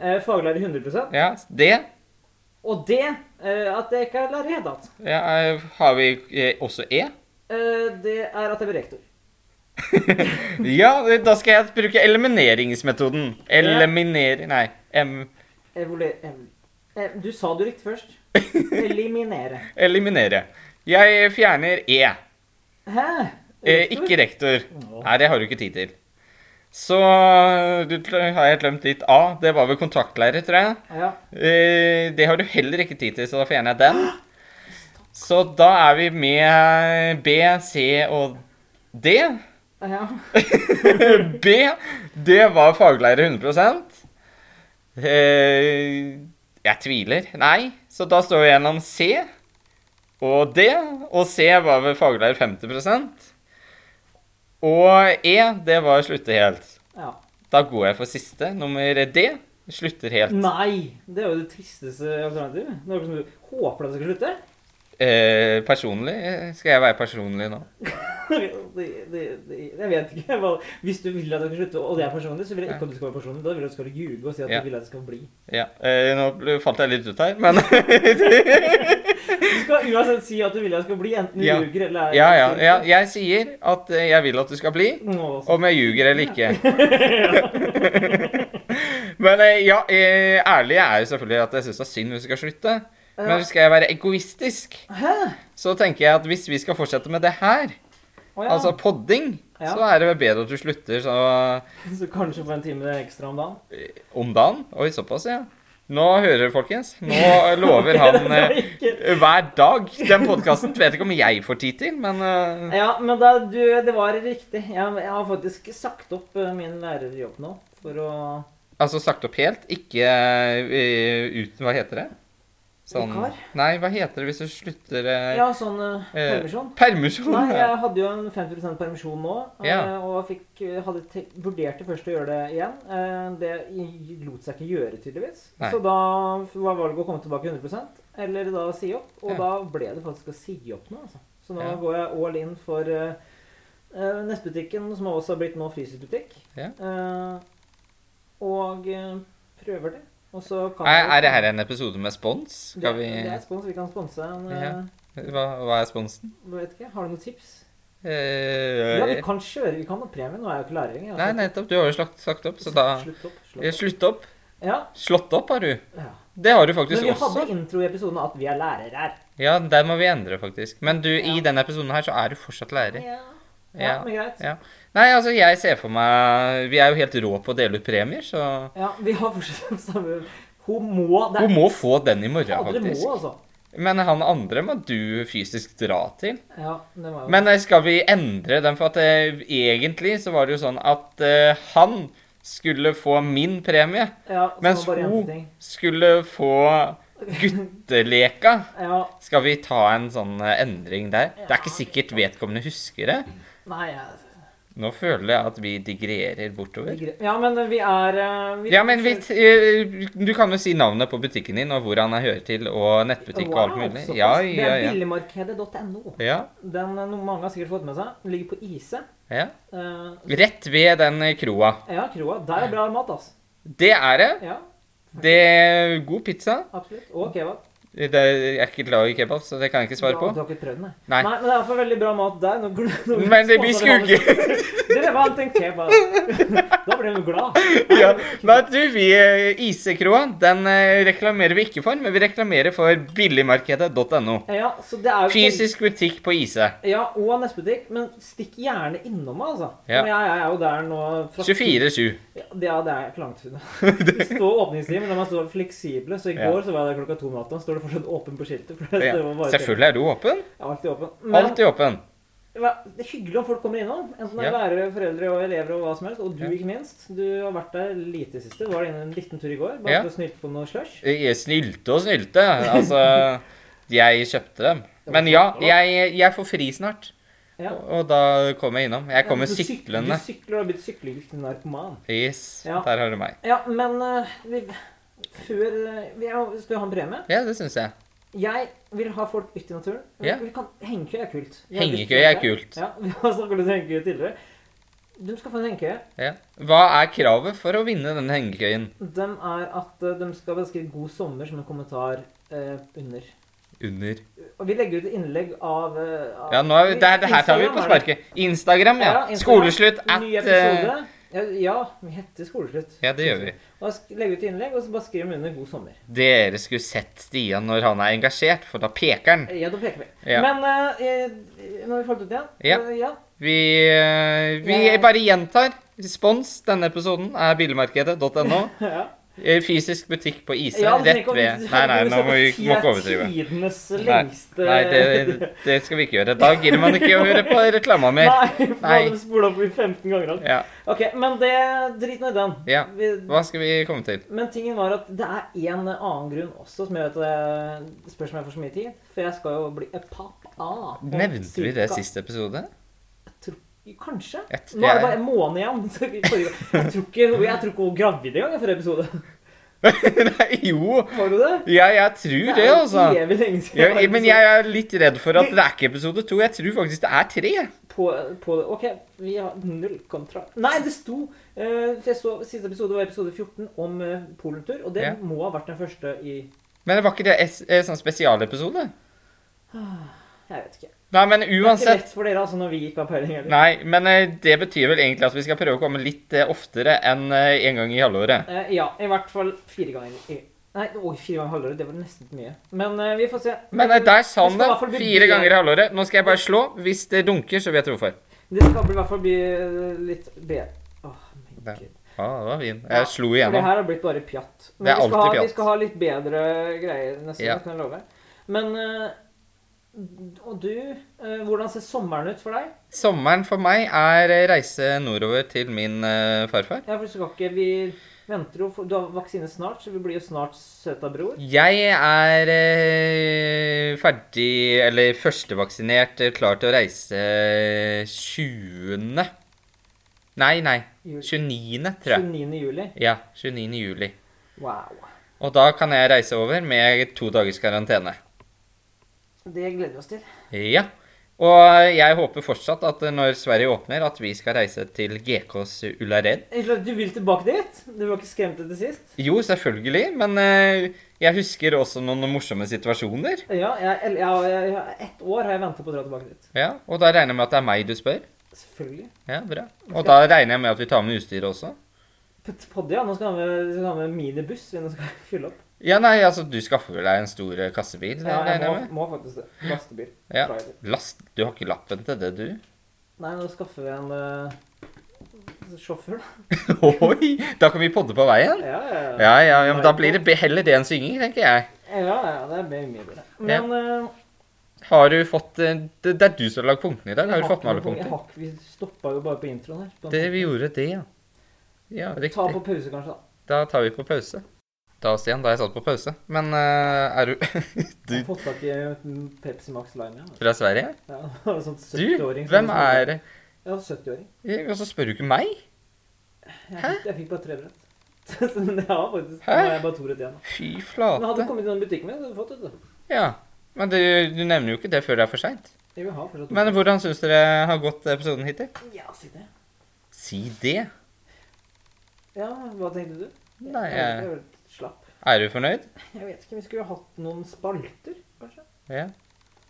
Speaker 1: Eh, faglærer 100
Speaker 2: Ja, D
Speaker 1: Og D. Eh, at jeg ikke er lærer i det hele tatt.
Speaker 2: ja, eh, har vi eh, også E.
Speaker 1: Eh, det er at jeg blir rektor.
Speaker 2: Ja, da skal jeg bruke elimineringsmetoden. Eliminere Nei. M.
Speaker 1: Evole... Ev... Eh, Du sa det jo riktig først. Eliminere.
Speaker 2: Eliminere. Jeg fjerner E.
Speaker 1: Hæ?
Speaker 2: Eh,
Speaker 1: Rektor?
Speaker 2: ikke rektor.
Speaker 1: Nå.
Speaker 2: Nei, det har du ikke tid til. Så eh, du, har jeg glemt litt A. Det var vel kontaktlærer, tror jeg.
Speaker 1: Ja.
Speaker 2: Eh, det har du heller ikke tid til, så da fjerner jeg den. Så da er vi med B, C og D.
Speaker 1: ja.
Speaker 2: B, det var faglærer 100 eh, Jeg tviler. Nei, så da står vi gjennom C og D. Og C var vel faglærer 50 Og E, det var slutte helt.
Speaker 1: ja.
Speaker 2: Da går jeg for siste, nummer D. Slutter helt.
Speaker 1: Nei! Det er jo det tristeste alternativet. Noe som du håper at det skal slutte.
Speaker 2: Eh, personlig? Skal jeg være personlig nå?
Speaker 1: det, det, det, jeg vet ikke. hva... Hvis du vil at det skal slutte, og det er personlig, så vil jeg ikke at du skal være personlig. Da vil jeg at du skal ljuge og si at
Speaker 2: Ja.
Speaker 1: du vil at det skal bli.
Speaker 2: Ja, eh, Nå ble- falt jeg litt ut her, men
Speaker 1: Du skal uansett si at du vil at det skal bli, enten du
Speaker 2: Ja.
Speaker 1: ljuger eller er
Speaker 2: ja, ja, ja. Jeg sier at eh, jeg vil at du skal bli,
Speaker 1: Nå, så.
Speaker 2: om jeg ljuger eller ikke. Men eh, ja, eh, ærlig er jo selvfølgelig at jeg syns det er synd hvis du skal slutte. Men skal jeg være egoistisk,
Speaker 1: Hæ?
Speaker 2: så tenker jeg at hvis vi skal fortsette med det her,
Speaker 1: Å ja.
Speaker 2: altså podding,
Speaker 1: Ja.
Speaker 2: så er det vel bedre at du slutter så
Speaker 1: Så kanskje få en time ekstra om dagen?
Speaker 2: om dagen. Oi, såpass, ja. Nå hører dere, folkens. Nå lover han eh,
Speaker 1: Ikke-
Speaker 2: Hver dag. Den podkasten vet ikke om jeg får tid til, men eh,
Speaker 1: Ja, men da, du, det var riktig. Jeg, jeg har faktisk sagt opp eh, min lærerjobb nå. For å
Speaker 2: Altså sagt opp helt. Ikke eh, uten Hva heter det? Sånn-
Speaker 1: Vikar?
Speaker 2: Nei, hva heter det hvis du slutter eh,
Speaker 1: Ja, sånn eh,
Speaker 2: eh,
Speaker 1: permisjon.
Speaker 2: Permisjon.
Speaker 1: Nei,
Speaker 2: ja.
Speaker 1: jeg hadde jo en 50 permisjon nå. eh,
Speaker 2: Ja.
Speaker 1: Og fikk, eh, hadde te vurderte først å gjøre det igjen. Eh, Det i- lot seg ikke gjøre, tydeligvis.
Speaker 2: Nei.
Speaker 1: Så da var valget å komme tilbake 100 eller da si opp. Og
Speaker 2: Ja.
Speaker 1: da ble det faktisk å si opp nå, altså. Så nå
Speaker 2: Ja.
Speaker 1: går jeg all in for eh, eh, nettbutikken, som også har blitt nå frysbutikk.
Speaker 2: Ja.
Speaker 1: og eh, prøver det. Og så kan
Speaker 2: Er,
Speaker 1: vi-
Speaker 2: er det her en episode med spons? Skal vi
Speaker 1: Det er spons. Vi kan sponse en eh,
Speaker 2: Ja. Hva, hva er sponsen?
Speaker 1: Vet ikke. Har du noen tips?
Speaker 2: Eh,
Speaker 1: Ja, vi kan kjøre. Vi kan ha premie. Nå er jeg jo ikke lærer lenger. altså.
Speaker 2: Nei, nettopp. Du har jo slakt, sagt opp, så da
Speaker 1: Slutt opp. Slutt
Speaker 2: Eh,
Speaker 1: opp.
Speaker 2: Slutt opp.
Speaker 1: Ja,
Speaker 2: Slått opp har du.
Speaker 1: ja.
Speaker 2: Det har du
Speaker 1: Men
Speaker 2: faktisk
Speaker 1: vi
Speaker 2: også.
Speaker 1: hadde intro i episoden at vi er lærere her.
Speaker 2: Ja, der må vi endre, faktisk. Men du, i
Speaker 1: Ja.
Speaker 2: denne episoden her så er du fortsatt lærer.
Speaker 1: Ja. ja,
Speaker 2: Ja.
Speaker 1: men greit.
Speaker 2: Ja. Nei, altså, jeg ser for meg Vi er jo helt rå på å dele ut premier, så
Speaker 1: Ja, vi har fortsatt den samme Hun må det.
Speaker 2: Hun må få den i morgen,
Speaker 1: Fader, det må,
Speaker 2: faktisk.
Speaker 1: altså.
Speaker 2: Men han andre må du fysisk dra til.
Speaker 1: Ja, det må jo
Speaker 2: Men eh, skal vi endre den? For at eh, egentlig så var det jo sånn at eh, han skulle få min premie,
Speaker 1: ja, så
Speaker 2: mens
Speaker 1: må bare gjenta
Speaker 2: hun
Speaker 1: ting.
Speaker 2: skulle få gutteleka.
Speaker 1: Ja,
Speaker 2: Skal vi ta en sånn eh, endring der? Det er ikke sikkert vedkommende husker det.
Speaker 1: nei jeg-
Speaker 2: Nå føler jeg at vi digrerer bortover.
Speaker 1: det er greit. Ja, men vi er eh, vi,
Speaker 2: Ja, men vi, eh, du kan jo si navnet på butikken din, og hvor han er hører til, og nettbutikk og alt
Speaker 1: Wow,
Speaker 2: mulig.
Speaker 1: såpass.
Speaker 2: Ja,
Speaker 1: Det
Speaker 2: ja,
Speaker 1: er
Speaker 2: ja.
Speaker 1: billigmarkedet.no.
Speaker 2: ja,
Speaker 1: Den eh, no- mange har sikkert fått med seg. Den ligger på Ise.
Speaker 2: ja.
Speaker 1: Eh,
Speaker 2: Rett ved den eh, kroa.
Speaker 1: ja, kroa. Der er bra mat, altså.
Speaker 2: Det er det.
Speaker 1: Ja,
Speaker 2: Det er god pizza.
Speaker 1: absolutt. Og kebab.
Speaker 2: Det er, jeg er ikke glad i kebab, så det kan jeg ikke svare
Speaker 1: Du
Speaker 2: på.
Speaker 1: har ikke prøvd den, nei.
Speaker 2: Nei.
Speaker 1: nei. Men det er iallfall veldig bra mat der. Nå, gl- nå,
Speaker 2: Men det blir
Speaker 1: sponsorer
Speaker 2: skugge.
Speaker 1: alle- Dere vant en kebab. da blir de glad.
Speaker 2: Ja. Nei, du, vi eh, Isekroa, den eh, reklamerer vi ikke for, men vi reklamerer for billigmarkedet.no.
Speaker 1: Ja, så det er jo
Speaker 2: Fysisk butikk på Ise.
Speaker 1: Ja, og nettbutikk. Men stikk gjerne innom meg, altså.
Speaker 2: Ja.
Speaker 1: Men jeg, jeg er jo der nå fra
Speaker 2: 24-7.
Speaker 1: Ja, det- ja, det er ikke langt unna. Det står åpningstid, men de er så fleksible. Så i
Speaker 2: Ja.
Speaker 1: går så var jeg der klokka to om natta. Står det fortsatt åpen på skiltet? For det
Speaker 2: Ja.
Speaker 1: står bare-
Speaker 2: Selvfølgelig er du åpen.
Speaker 1: Jeg er alltid åpen. Men
Speaker 2: Alltid åpen.
Speaker 1: hva- det er hyggelig om folk kommer innom. Enten det er
Speaker 2: Ja.
Speaker 1: lærere, foreldre og elever og hva som helst. Og du,
Speaker 2: Ja.
Speaker 1: ikke minst. Du har vært der lite i det siste. Du var inne en liten tur i går. Bare
Speaker 2: Ja.
Speaker 1: for å snylte på noe slush.
Speaker 2: Eh, Jeg Snylte og snylte. Altså, jeg kjøpte dem. Men ja, jeg, jeg får fri snart.
Speaker 1: Ja.
Speaker 2: Og da kommer jeg innom. Jeg kommer
Speaker 1: Du syk-
Speaker 2: syklende.
Speaker 1: Du sykler og har blitt syklenarkoman.
Speaker 2: Yes,
Speaker 1: Ja.
Speaker 2: der har du meg.
Speaker 1: Ja, men eh, vi, Før eh, vi er- Skal vi ha en premie?
Speaker 2: Ja, det syns jeg.
Speaker 1: Jeg vil ha folk ut i naturen.
Speaker 2: Ja.
Speaker 1: Vi kan, hengekøye er kult. Vi har
Speaker 2: Hengekøye er
Speaker 1: diskutert det.
Speaker 2: kult.
Speaker 1: Ja, Vi har snakket litt om hengekøye tidligere. De skal få en hengekøye.
Speaker 2: Ja. Hva er kravet for å vinne denne hengekøyen?
Speaker 1: De er at eh, de skal beskrive 'God sommer' som en kommentar eh, under.
Speaker 2: Under
Speaker 1: Og vi legger ut et innlegg av, eh, av
Speaker 2: Ja, nå er vi, det, det her tar vi
Speaker 1: Instagram,
Speaker 2: på
Speaker 1: er det?
Speaker 2: sparket. Instagram, ja.
Speaker 1: Instagram.
Speaker 2: Skoleslutt at
Speaker 1: Ny
Speaker 2: eh,
Speaker 1: episode. Ja, ja, vi heter Skoleslutt.
Speaker 2: Ja, det gjør vi.
Speaker 1: Og da sk- legger vi ut innlegg, og så bare skriver vi under 'God sommer'.
Speaker 2: Dere skulle sett Stian når han er engasjert, for da peker han.
Speaker 1: Eh, Ja, da peker vi.
Speaker 2: Ja.
Speaker 1: Men eh, eh, nå har vi falt ut igjen.
Speaker 2: Ja.
Speaker 1: Eh, ja.
Speaker 2: Vi, eh, vi
Speaker 1: Jeg-
Speaker 2: bare gjentar. Respons denne episoden er bilmarkedet.no.
Speaker 1: ja.
Speaker 2: Eh, Fysisk butikk på Ise,
Speaker 1: Ja, det trenger
Speaker 2: rett
Speaker 1: ikke
Speaker 2: ved
Speaker 1: å-
Speaker 2: Nei, nei, nå må vi
Speaker 1: det
Speaker 2: må
Speaker 1: er
Speaker 2: ikke overdrive.
Speaker 1: Tidenes
Speaker 2: Nei,
Speaker 1: lengste
Speaker 2: nei det, det skal vi ikke gjøre. Da gidder man ikke å høre på reklama mer.
Speaker 1: Nei, for da
Speaker 2: Nei.
Speaker 1: hadde vi spola opp i 15 ganger. alt.
Speaker 2: Ja,
Speaker 1: Ok, Men det drit nå i den.
Speaker 2: ja.
Speaker 1: Vi,
Speaker 2: Hva skal vi komme til?
Speaker 1: men tingen var at det er en annen grunn også, som gjør at det spørs om jeg får så mye tid. For jeg skal jo bli a pappa. om
Speaker 2: Nevnte vi det
Speaker 1: cirka-
Speaker 2: siste episode?
Speaker 1: Kanskje.
Speaker 2: Jeg t-
Speaker 1: Nå er det
Speaker 2: jeg-
Speaker 1: bare en måned igjen. så vi- forrige- Jeg tror ikke jeg tror ikke hun var gravid engang i forrige episode.
Speaker 2: Nei, jo.
Speaker 1: Var du det?
Speaker 2: Ja, jeg tror det, altså.
Speaker 1: Det er jo evig lenge siden.
Speaker 2: Ja,
Speaker 1: jeg liksom var i
Speaker 2: men jeg er litt redd for at det er ikke episode to. Jeg tror faktisk det er tre.
Speaker 1: på, på det. OK, vi har null kontrakt. Nei, det sto eh, for jeg så, Siste episode var episode 14 om eh, polentur, og det
Speaker 2: Ja.
Speaker 1: må ha vært den første i
Speaker 2: Men det var ikke det es- eh, sånn spesialepisode?
Speaker 1: Jeg vet ikke.
Speaker 2: Nei, men
Speaker 1: Det er ikke
Speaker 2: uansett
Speaker 1: lett for dere altså når vi ikke har peiling heller.
Speaker 2: Nei, men eh, det betyr vel egentlig at vi skal prøve å komme litt eh, oftere enn eh, en gang i halvåret.
Speaker 1: Eh, ja, i hvert fall fire ganger i Nei, oi, fire ganger halvåret. Det var nesten for mye. Men eh, vi får se.
Speaker 2: Men eh, der sa
Speaker 1: Vi skal
Speaker 2: han
Speaker 1: i
Speaker 2: det.
Speaker 1: hvert fall bli
Speaker 2: Fire
Speaker 1: bedre.
Speaker 2: ganger i halvåret. Nå skal jeg bare slå. Hvis det dunker, så vet du hvorfor.
Speaker 1: Det skal bli, i hvert fall bli eh, litt bedre. Åh, men
Speaker 2: Ja.
Speaker 1: Gud.
Speaker 2: Ja, Ah, det var fin.
Speaker 1: Ja,
Speaker 2: Jeg slo
Speaker 1: For det
Speaker 2: igjennom.
Speaker 1: her har blitt bare pjatt. Men
Speaker 2: Det er
Speaker 1: vi skal,
Speaker 2: alltid
Speaker 1: ha,
Speaker 2: pjatt.
Speaker 1: vi skal ha litt bedre greier neste
Speaker 2: Ja.
Speaker 1: gang, kan jeg love. Men eh, Og du, eh, hvordan ser sommeren ut for deg?
Speaker 2: Sommeren for meg er eh, reise nordover til min eh, farfar.
Speaker 1: Ja, for du skal ikke, vi venter jo, for- du har vaksine snart, så vi blir jo snart søta bror.
Speaker 2: Jeg er eh, ferdig, eller førstevaksinert, eh, klar til å reise 20. Nei, nei.
Speaker 1: Jul-
Speaker 2: 29., tror jeg.
Speaker 1: 29. juli.
Speaker 2: Ja, 29. juli.
Speaker 1: Wow.
Speaker 2: Og da kan jeg reise over med to dagers karantene.
Speaker 1: Det gleder vi oss til.
Speaker 2: Ja. Og jeg håper fortsatt at eh, når Sverige åpner, at vi skal reise til GKs Ullared.
Speaker 1: Eller, Du vil tilbake dit? Du var ikke skremt etter sist?
Speaker 2: Jo, selvfølgelig, men eh, jeg husker også noen morsomme situasjoner.
Speaker 1: Ja, jeg, eller, jeg, jeg, jeg, ett år har jeg ventet på å dra tilbake dit.
Speaker 2: Ja, Og da regner jeg med at det er meg du spør.
Speaker 1: Selvfølgelig.
Speaker 2: Ja, bra. Og da regner jeg med at vi tar med utstyret også.
Speaker 1: Putt podde, ja. Nå skal vi ha med- skal vi ha med minibuss, vi nå skal vi fylle opp.
Speaker 2: Ja, nei, altså, du skaffer vel deg en stor eh, kassebil?
Speaker 1: Ja, jeg
Speaker 2: regner
Speaker 1: må,
Speaker 2: jeg med.
Speaker 1: må faktisk det. Lastebil.
Speaker 2: Ja.
Speaker 1: Trailer.
Speaker 2: Last, du har ikke lappen til det, du?
Speaker 1: Nei, nå skaffer vi en eh, sjåfør, da.
Speaker 2: Oi! Da kan vi podde på veien.
Speaker 1: Ja, ja, ja.
Speaker 2: Ja, ja, ja, men da blir det be- heller det enn synging, tenker jeg.
Speaker 1: Ja, ja, det er mye bedre. Men... eh,
Speaker 2: Har du fått eh, Det det er du som har lagd punktene i dag. Har du fått med alle
Speaker 1: Jeg
Speaker 2: punkter?
Speaker 1: har ikke- Vi stoppa jo bare på introen her.
Speaker 2: Det, vi gjorde det, ja. Ja,
Speaker 1: Ta
Speaker 2: riktig.
Speaker 1: på pause, kanskje. da.
Speaker 2: Da tar vi på pause. Da, Stian, da har jeg satt på pause. Men eh, er du Du
Speaker 1: Jeg har fått tak i en Pepsi Max Line. Ja.
Speaker 2: fra Sverige?
Speaker 1: Ja, det var en sånn
Speaker 2: Du?
Speaker 1: 70-åring. som-
Speaker 2: Hvem er det?
Speaker 1: Ja, 70-åring.
Speaker 2: Og så spør du ikke meg?
Speaker 1: Jeg, fikk- jeg fikk bare tre brett. Så- Men jeg har faktisk
Speaker 2: Hæ?
Speaker 1: Nå har jeg bare to rett igjen. da.
Speaker 2: Fy
Speaker 1: Men hadde du
Speaker 2: flate.
Speaker 1: kommet innom butikken min, så hadde du fått det. da.
Speaker 2: Ja. Men du, du nevner jo ikke det før det er for seint.
Speaker 1: Jeg vil ha fortsatt
Speaker 2: Men hvordan syns dere har gått episoden hittil?
Speaker 1: Ja, si det.
Speaker 2: Si det.
Speaker 1: Ja, hva tenkte du?
Speaker 2: Nei,
Speaker 1: jeg...
Speaker 2: jeg-
Speaker 1: jeg var litt slapp.
Speaker 2: Er du fornøyd?
Speaker 1: Jeg vet ikke, vi skulle jo hatt noen spalter, kanskje?
Speaker 2: Ja.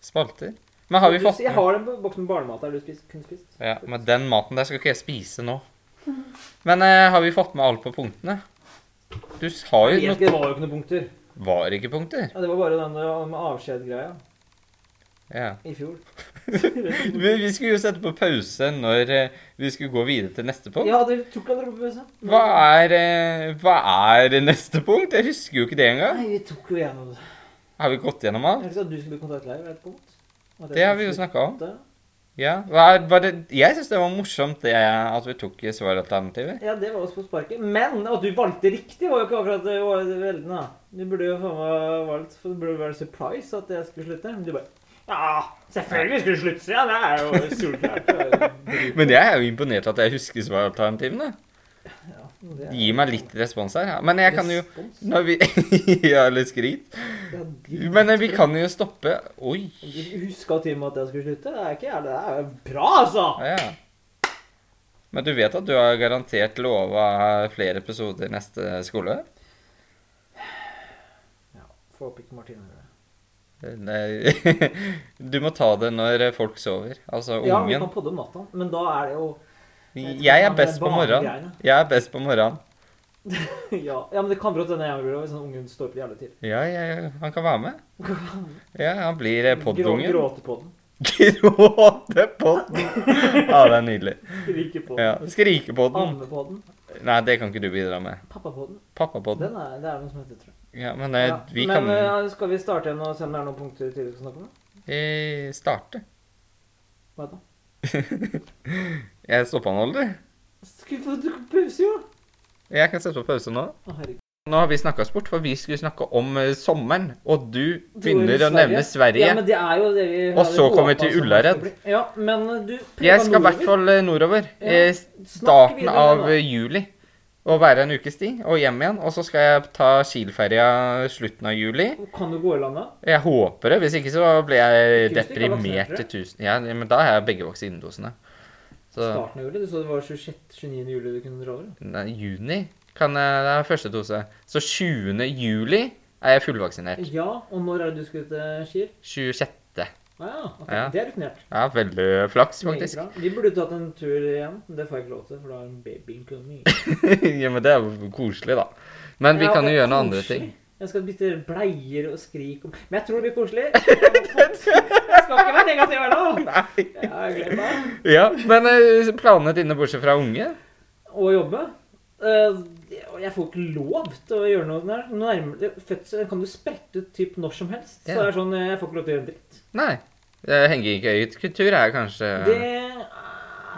Speaker 2: Spalter. Men har vi
Speaker 1: Du-
Speaker 2: fått
Speaker 1: Jeg har en boks med barnemat der du spist, kunne spist.
Speaker 2: Ja, men den maten der skal ikke jeg spise nå. Men eh, har vi fått med alt på punktene? Du s- har
Speaker 1: Jeg
Speaker 2: jo
Speaker 1: vet ikke,
Speaker 2: noen
Speaker 1: det var jo ikke noen punkter.
Speaker 2: Var ikke punkter?
Speaker 1: Ja, det var bare den eh, med avskjed-greia
Speaker 2: Ja.
Speaker 1: i fjor.
Speaker 2: Vi, vi skulle jo sette på pause når eh, vi skulle gå videre til neste punkt.
Speaker 1: Ja, dere tok aldri på pause.
Speaker 2: Hva er, eh, hva er neste punkt? Jeg husker jo ikke det engang.
Speaker 1: Nei, vi tok jo gjennom det.
Speaker 2: Har vi gått gjennom alt?
Speaker 1: Jeg sa at du skulle bli kontaktlærer ved et punkt. At jeg
Speaker 2: Det har vi jo
Speaker 1: skulle
Speaker 2: snakka om.
Speaker 1: slutte.
Speaker 2: Ja. Hva er, var det, jeg syns det var morsomt det at vi tok svaralternativer.
Speaker 1: Ja, det var oss på sparket. Men at du valgte riktig, var jo ikke akkurat det var det veldende. da. Du burde jo faen meg valgt For det burde jo være surprise at jeg skulle slutte. Men du bare Ja, selvfølgelig skulle du slutte, sier jeg. Det er jo solklart. Det er jo drit.
Speaker 2: Men jeg er jo imponert at jeg husker svaralternativene.
Speaker 1: Ja, Det er-
Speaker 2: Gi meg litt respons her. ja. Men jeg kan jo
Speaker 1: Respons.
Speaker 2: når vi Ja, eller skryt.
Speaker 1: Ja, de-
Speaker 2: Men eh, vi kan jo stoppe Oi.
Speaker 1: Du huska til og med at jeg skulle slutte? Det er ikke jævlig, det er jo bra, altså!
Speaker 2: Ja. Men du vet at du har garantert lova flere episoder neste skole?
Speaker 1: Ja, Får håpe ikke Martine hører det.
Speaker 2: Nei. Du må ta det når folk sover. Altså
Speaker 1: Ja, vi
Speaker 2: ungen.
Speaker 1: kan podde om natta, men da er det jo
Speaker 2: Jeg er best på morgenen.
Speaker 1: Barnegreiene.
Speaker 2: Jeg er best på morgenen.
Speaker 1: ja. ja, men det kan godt hende jeg blir det hvis sånn ungen står opp jævlig tidlig.
Speaker 2: Ja, ja, ja, han kan være med. Ja, han blir eh,
Speaker 1: Grå-
Speaker 2: poddungen.
Speaker 1: Gråtepodden.
Speaker 2: Gråtepodden. Ja, det er nydelig.
Speaker 1: Rikepodden.
Speaker 2: Ja, Skrikepodden.
Speaker 1: Ammepodden.
Speaker 2: Nei, det kan ikke du bidra med.
Speaker 1: Pappapodden.
Speaker 2: Pappapodden.
Speaker 1: Den er, det er noe som heter, tror jeg.
Speaker 2: Ja, men eh,
Speaker 1: Ja,
Speaker 2: vi
Speaker 1: men
Speaker 2: kan
Speaker 1: eh, skal vi starte igjen og se om det er noen punkter til vi skal snakke om? da?
Speaker 2: eh, starte.
Speaker 1: Hva da?
Speaker 2: Jeg stoppa nå, eller?
Speaker 1: Skal vi få pause, jo?
Speaker 2: Jeg kan sette på pause nå.
Speaker 1: Å, herregud.
Speaker 2: Nå har vi snakka oss bort, for vi skulle snakke om eh, sommeren. Og du
Speaker 1: Du
Speaker 2: begynner
Speaker 1: er i
Speaker 2: å nevne
Speaker 1: Ja,
Speaker 2: Sverige.
Speaker 1: men det er jo det vi
Speaker 2: Og
Speaker 1: hadde
Speaker 2: så kommer vi
Speaker 1: håpet
Speaker 2: til
Speaker 1: som det
Speaker 2: Ullared.
Speaker 1: skulle bli. Ja, men eh, du
Speaker 2: Jeg skal i hvert fall eh, nordover.
Speaker 1: Ja.
Speaker 2: Eh,
Speaker 1: Snakk
Speaker 2: Starten
Speaker 1: videre,
Speaker 2: av
Speaker 1: da.
Speaker 2: eh, juli. Og være en ukes tid, og hjem igjen. Og så skal jeg ta Kiel-ferja slutten av juli.
Speaker 1: Kan du gå i landet?
Speaker 2: Jeg håper det. Hvis ikke så blir
Speaker 1: Ikke
Speaker 2: jeg
Speaker 1: hvis du ikke har
Speaker 2: deprimert til
Speaker 1: vaksinert
Speaker 2: tusen Ja, men da har jeg begge vaksinedosene. Så
Speaker 1: Starten av juli? Du sa det var 26-29. juli du kunne dra over?
Speaker 2: nei, juni kan jeg Det er første dose. Så 20. juli er jeg fullvaksinert.
Speaker 1: Ja, og når er det du skal til Skier?
Speaker 2: 26.
Speaker 1: Å ja, ok,
Speaker 2: Ja.
Speaker 1: det er rutinert.
Speaker 2: Ja, veldig flaks,
Speaker 1: Meget
Speaker 2: faktisk.
Speaker 1: bra. Vi burde tatt en tur igjen, men det får jeg ikke lov til, for da er babyen coming.
Speaker 2: ja, men det er jo koselig, da. Men vi
Speaker 1: Ja,
Speaker 2: kan jo
Speaker 1: det er
Speaker 2: gjøre noen andre
Speaker 1: koselig.
Speaker 2: ting.
Speaker 1: Jeg skal bytte bleier og skrik om Men jeg tror det blir koselig. Jeg skal ikke være negativ her nå.
Speaker 2: Nei.
Speaker 1: Jeg har glemt meg.
Speaker 2: Ja, men eh, planene dine bortsett fra unge?
Speaker 1: Og jobbe. Eh, og Jeg får ikke lov til å gjøre noe der. Nærmere, fødsel kan du sprette ut typ når som helst. Så
Speaker 2: Ja.
Speaker 1: det er sånn, eh, jeg får ikke lov til å gjøre en dritt.
Speaker 2: Nei. Eh, Hengekøyekultur er kanskje
Speaker 1: Det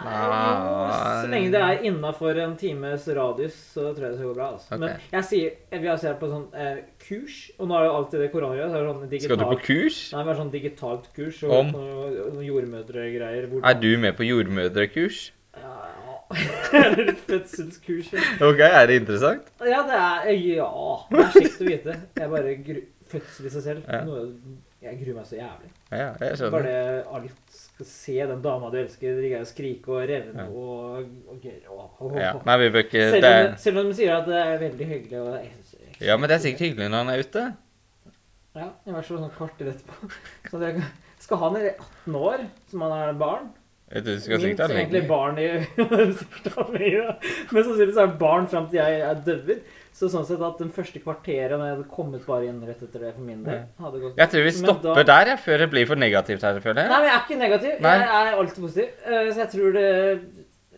Speaker 1: Jo, så lenge det er innafor en times radius, så tror jeg det skal gå bra. Altså.
Speaker 2: Ok.
Speaker 1: Men jeg sier, vi har sett på sånn eh, kurs, og nå er jo alltid det koronagreier. så er det Sånn
Speaker 2: Skal du på
Speaker 1: digitalt-
Speaker 2: kurs?
Speaker 1: Nei, vi har sånn digitalt kurs og
Speaker 2: Om?
Speaker 1: noe- noe jordmødregreier. hvor-
Speaker 2: Er du med på jordmødrekurs?
Speaker 1: Ja, Eller fødselskurs. Ja.
Speaker 2: Ok, er det interessant?
Speaker 1: Ja, det er eh, Ja. Det er kjekt å vite. Jeg bare gru, Fødsel i seg selv.
Speaker 2: Ja.
Speaker 1: Noe, jeg gruer meg så jævlig.
Speaker 2: Ja, jeg skjønner.
Speaker 1: Bare alt skal se den dama du elsker, ligge og skrike og revne
Speaker 2: Ja.
Speaker 1: og, og, og, og,
Speaker 2: Ja. Nei, vi bør ikke
Speaker 1: Selv
Speaker 2: det
Speaker 1: om,
Speaker 2: er...
Speaker 1: selv om de sier at det er veldig hyggelig og jeg synes- jeg-
Speaker 2: Ja, men det er sikkert hyggelig når han er ute.
Speaker 1: Ja, i hvert fall sånn kvarter etterpå. Så det, skal han i 18 år, som han er barn
Speaker 2: Jeg tror du skal sikkert ha
Speaker 1: som egentlig
Speaker 2: lenge.
Speaker 1: barn i sikkert han lenger, da. Men sannsynligvis er han barn fram til jeg er døver. Så sånn sett at den første kvarteret når jeg hadde kommet bare inn rett etter det for min del, hadde gått
Speaker 2: Jeg tror vi
Speaker 1: Men da-
Speaker 2: stopper der, jeg, før det blir for negativt her, føler
Speaker 1: Nei,
Speaker 2: jeg.
Speaker 1: men jeg er ikke negativ.
Speaker 2: Nei.
Speaker 1: Jeg er alltid positiv. Eh, Så jeg tror det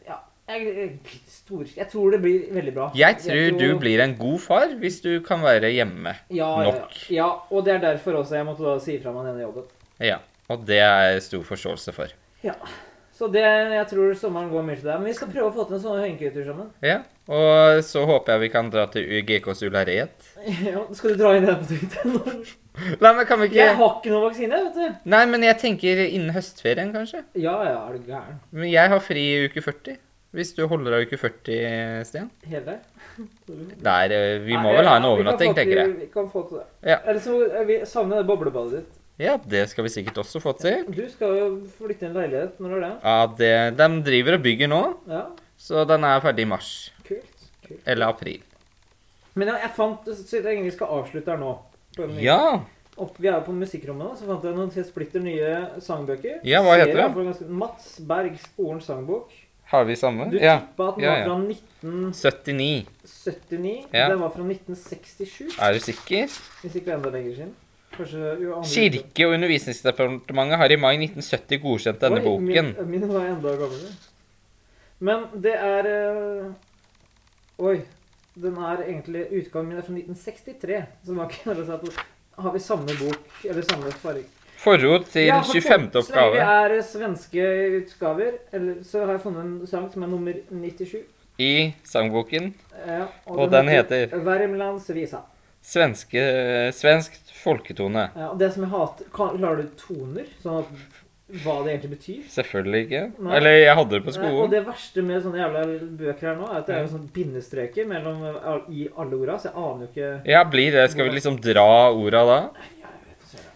Speaker 1: Ja. Jeg, jeg, stor, jeg tror det blir veldig bra.
Speaker 2: Jeg tror du blir en god far hvis du kan være hjemme.
Speaker 1: ja,
Speaker 2: nok.
Speaker 1: Ja, ja, og det er derfor også jeg måtte da si fra meg denne jobben.
Speaker 2: Ja, og det er stor forståelse for.
Speaker 1: Ja. Så det, jeg tror sommeren går mye til deg. Men vi skal prøve å få til en sånn høyengkutur sammen.
Speaker 2: Ja, og så håper jeg vi kan dra til GKs Ullared.
Speaker 1: Ja, skal du dra inn det på Twitter?
Speaker 2: Nei, men kan vi ikke...
Speaker 1: Jeg har ikke noen vaksine, vet du.
Speaker 2: Nei, men jeg tenker innen høstferien, kanskje.
Speaker 1: Ja, ja, er du gæren.
Speaker 2: Men jeg har fri i uke 40. Hvis du holder av uke 40, Stian.
Speaker 1: Hele?
Speaker 2: Der, eh, vi må vel ha en
Speaker 1: Nei, ja, vi kan
Speaker 2: overnatting,
Speaker 1: få til-
Speaker 2: tenker jeg.
Speaker 1: Vi kan få til det.
Speaker 2: Ja.
Speaker 1: Eller så eh, vi savner det boblebadet ditt.
Speaker 2: Ja, det skal vi sikkert også få til.
Speaker 1: Du skal jo flytte inn i leilighet. Når er det?
Speaker 2: Ja, det, De driver og bygger nå,
Speaker 1: Ja,
Speaker 2: så den er ferdig i mars.
Speaker 1: kult. kult.
Speaker 2: Eller april.
Speaker 1: Men jeg, jeg fant så jeg egentlig skal avslutte her nå. på den-
Speaker 2: Ja!
Speaker 1: Opp, vi er jo på musikkrommet, nå, så fant jeg noen helt splitter nye sangbøker.
Speaker 2: Ja, hva
Speaker 1: Ser
Speaker 2: heter det?
Speaker 1: jeg for ganske- Mats Berg Skolens sangbok.
Speaker 2: Har vi samme?
Speaker 1: Du
Speaker 2: Ja.
Speaker 1: tippa at den
Speaker 2: ja, ja.
Speaker 1: var fra 1979.
Speaker 2: 79. Ja.
Speaker 1: Den var fra 1967,
Speaker 2: Er du sikker?
Speaker 1: hvis ikke enda lenger siden. Kanskje jo, andre-
Speaker 2: Kirke- og undervisningsdepartementet har i mai 1970 godkjent denne
Speaker 1: Oi,
Speaker 2: boken.
Speaker 1: Min, min var enda gamlere. Men det er eh, Oi. Den er egentlig Utgaven min er fra 1963. Så man kan si at har vi samme bok eller samme farge.
Speaker 2: Forord til
Speaker 1: Ja, for
Speaker 2: 25.
Speaker 1: så- Så lenge
Speaker 2: oppgave.
Speaker 1: vi er eh, svenske utgaver, eller, så har jeg funnet en sang som er nummer 97.
Speaker 2: I sangboken
Speaker 1: eh,
Speaker 2: Og den heter?
Speaker 1: Värmlandsvisa.
Speaker 2: svenske, Svensk folketone.
Speaker 1: Ja, og det som jeg hater kan- Klarer du toner? Sånn at hva det egentlig betyr.
Speaker 2: Selvfølgelig ikke.
Speaker 1: Nei.
Speaker 2: Eller jeg hadde det på
Speaker 1: Nei, Eh, og
Speaker 2: skolen.
Speaker 1: det verste med sånne jævla bøker her nå, er at det er jo sånne bindestreker mellom, eh, i alle orda, så jeg aner jo ikke
Speaker 2: Ja, blir det. Skal vi liksom dra orda da?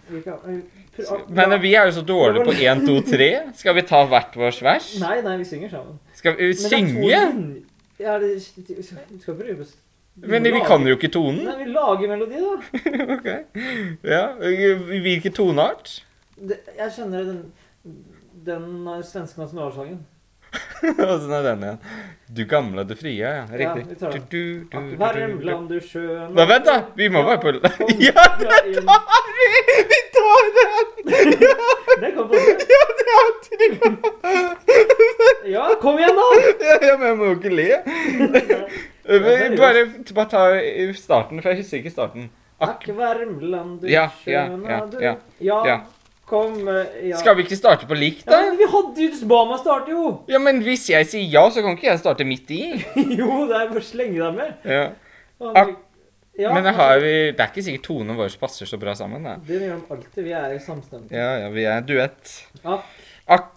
Speaker 1: vi kan, eh, prøv, ah,
Speaker 2: Men vi er jo så dårlige på 1, 2, 3. Skal vi ta hvert vårt vers?
Speaker 1: Nei, nei, vi synger sammen.
Speaker 2: Skal vi
Speaker 1: Men det er to
Speaker 2: synge?
Speaker 1: linjer. Ja, det, du skal ikke prøve
Speaker 2: Men vi kan jo ikke tonen.
Speaker 1: Nei, vi lager melodi, da.
Speaker 2: Ok. Ja. Hvilken toneart?
Speaker 1: Det, jeg kjenner den, den eh, svenske nasjonalsangen.
Speaker 2: Åssen er den igjen? Du gamle, du frie.
Speaker 1: Ja,
Speaker 2: Ja, riktig.
Speaker 1: vi tar den.
Speaker 2: Du, du, du, du, du, du.
Speaker 1: Värmland, du sjøen
Speaker 2: Nei, vent, da! Vi må være på Ja, det tar vi! Vi tar den!
Speaker 1: Det kom på det.
Speaker 2: Ja, det er trygg.
Speaker 1: Ja, kom igjen, da!
Speaker 2: Ja, ja, men jeg må jo ikke le. Men Bare, bare ta i starten, for jeg husker ikke starten. Ak
Speaker 1: Akk Värmland, du
Speaker 2: Ja, ja,
Speaker 1: sköna
Speaker 2: ja,
Speaker 1: du.
Speaker 2: ja, ja.
Speaker 1: Ja, kom eh, ja.
Speaker 2: Skal vi ikke starte på likt,
Speaker 1: ja,
Speaker 2: da?
Speaker 1: men vi hadde jo Bama starte, jo!
Speaker 2: Ja, men hvis jeg sier ja, så kan ikke jeg starte midt i.
Speaker 1: jo, det er bare å slenge deg med.
Speaker 2: Ja.
Speaker 1: Og
Speaker 2: Ak-
Speaker 1: ja,
Speaker 2: Men jeg har, det er ikke sikkert tonene våre passer så bra sammen. Da.
Speaker 1: Det gjør de alltid. Vi er samstemte.
Speaker 2: Ja, ja, vi er duett.
Speaker 1: Akk
Speaker 2: Akk,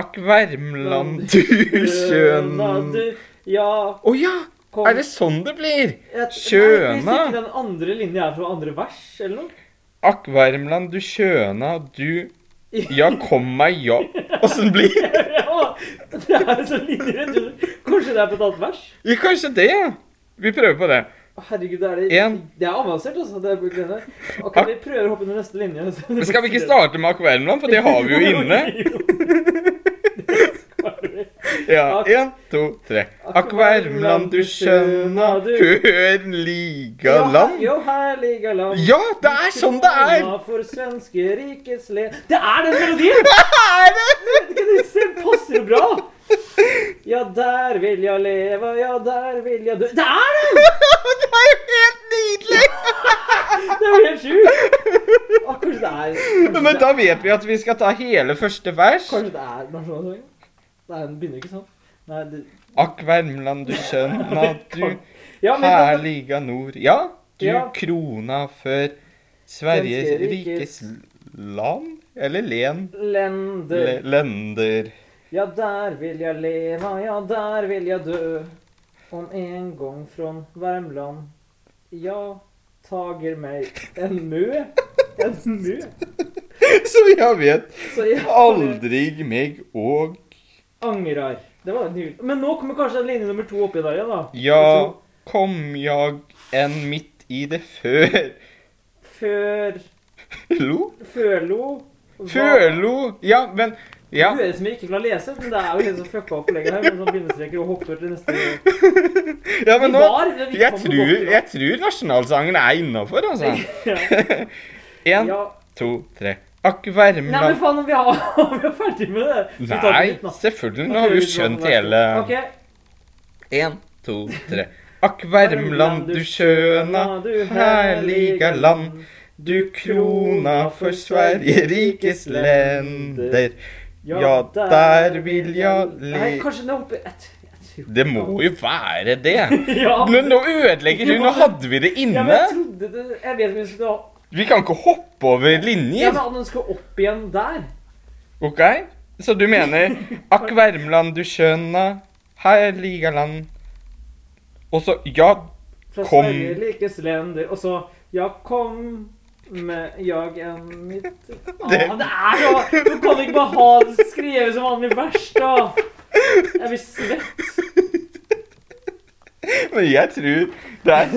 Speaker 2: akk Värmland, du skjøna
Speaker 1: Skjøna
Speaker 2: Å
Speaker 1: du Ja,
Speaker 2: ja!
Speaker 1: kom
Speaker 2: Er det sånn det blir?
Speaker 1: Jeg-
Speaker 2: skjøna?
Speaker 1: Nei, Hvis ikke den andre linja er fra andre vers, eller noe?
Speaker 2: Akk Värmland, du skjøna du Ja, kom meg, ja. Åssen blir det?
Speaker 1: Ja, det er så linjerett. Kanskje det er på et annet vers?
Speaker 2: Ja, Kanskje det, ja. Vi prøver på det.
Speaker 1: Å, Herregud, det er det
Speaker 2: En.
Speaker 1: Det er avansert, altså. Det er på greiene der. Ok, vi prøver å hoppe til neste linje. så det
Speaker 2: Men skal vi
Speaker 1: blir
Speaker 2: ikke starte med Akk Värmland, for det har vi jo inne?
Speaker 1: Jo,
Speaker 2: Ja, én, to, tre. Akk Värmland, du skjøna Hør liga land.
Speaker 1: Jo, her ligger land.
Speaker 2: Ja, det er sånn det er!
Speaker 1: Krona For svenske rikets le... Det er den melodien!
Speaker 2: Er det?
Speaker 1: Det kan du se, passer jo bra! Ja, der vil jeg leve, ja, der vil jeg dø Det er den!
Speaker 2: Det er jo helt nydelig!
Speaker 1: Det er jo helt sjukt! Å, Kanskje det er kanskje
Speaker 2: Men
Speaker 1: det-
Speaker 2: da vet vi at vi skal ta hele første vers.
Speaker 1: Kanskje det er nasjonalsangen? Nei, den begynner ikke sånn. Nei, det...
Speaker 2: Akk Värmland, du skjønna du
Speaker 1: Ja, men
Speaker 2: her liga nord. Ja, du
Speaker 1: Ja.
Speaker 2: krona før Sveriges
Speaker 1: Svenske
Speaker 2: rikes
Speaker 1: rikes-
Speaker 2: land? Eller len?
Speaker 1: Lende
Speaker 2: Le- Lender.
Speaker 1: Ja, der vil jeg leva, ja, der vil jeg dø. Om en gang från Värmland. Ja, tager meg en mø. En mø.
Speaker 2: Så jeg vet
Speaker 1: Så jeg
Speaker 2: aldri meg og
Speaker 1: angrar. Det var nydelig. Men nå kommer kanskje linje nummer to oppi der igjen, da.
Speaker 2: Ja, kom jag enn midt i det før
Speaker 1: Før
Speaker 2: Lo?
Speaker 1: Førlo var-
Speaker 2: Følo? Ja, men
Speaker 1: Det
Speaker 2: Ja.
Speaker 1: høres ut som jeg ikke kan lese, men det er jo helt sånn fucka opplegget her. Med sånn bindestreker og hopper til neste
Speaker 2: ja
Speaker 1: Vi
Speaker 2: men nå
Speaker 1: var, men vi
Speaker 2: jeg
Speaker 1: kommer
Speaker 2: tror,
Speaker 1: godt i gang.
Speaker 2: jeg tror nasjonalsangen er innafor, altså.
Speaker 1: ja.
Speaker 2: Én,
Speaker 1: ja.
Speaker 2: to, tre. Akk
Speaker 1: Nei, men
Speaker 2: Värmland
Speaker 1: faen, om vi har- om vi er ferdig med det. Skal vi ta det
Speaker 2: Mm. Nei,
Speaker 1: litt, da?
Speaker 2: selvfølgelig. Nå har vi jo skjønt hele
Speaker 1: Ok.
Speaker 2: Én, to, tre. Akk Värmland, du skjøna, herliga land. Du krona for Sverige, rikes lender. Ja, der vil jeg le...
Speaker 1: Nei, kanskje det er oppe et, jeg tror-
Speaker 2: Det må jo være det.
Speaker 1: Ja.
Speaker 2: Men nå ødelegger du. Nå hadde vi det
Speaker 1: ja,
Speaker 2: inne.
Speaker 1: men jeg trodde det Jeg vet ikke om vi skulle ha
Speaker 2: Vi kan ikke hoppe over
Speaker 1: Ja,
Speaker 2: linjer.
Speaker 1: men at den skulle opp igjen der.
Speaker 2: OK? Så du mener Akk Värmland, du skjønna, her liga land. Og så Ja,
Speaker 1: Fra
Speaker 2: Kom.
Speaker 1: Sverige likes lender. Og så Ja, kom med jag en mitt ah, Det
Speaker 2: Det-
Speaker 1: er så Du kan ikke bare ha det skrevet som vanlig vers, da. Jeg blir svett.
Speaker 2: men jeg tror det er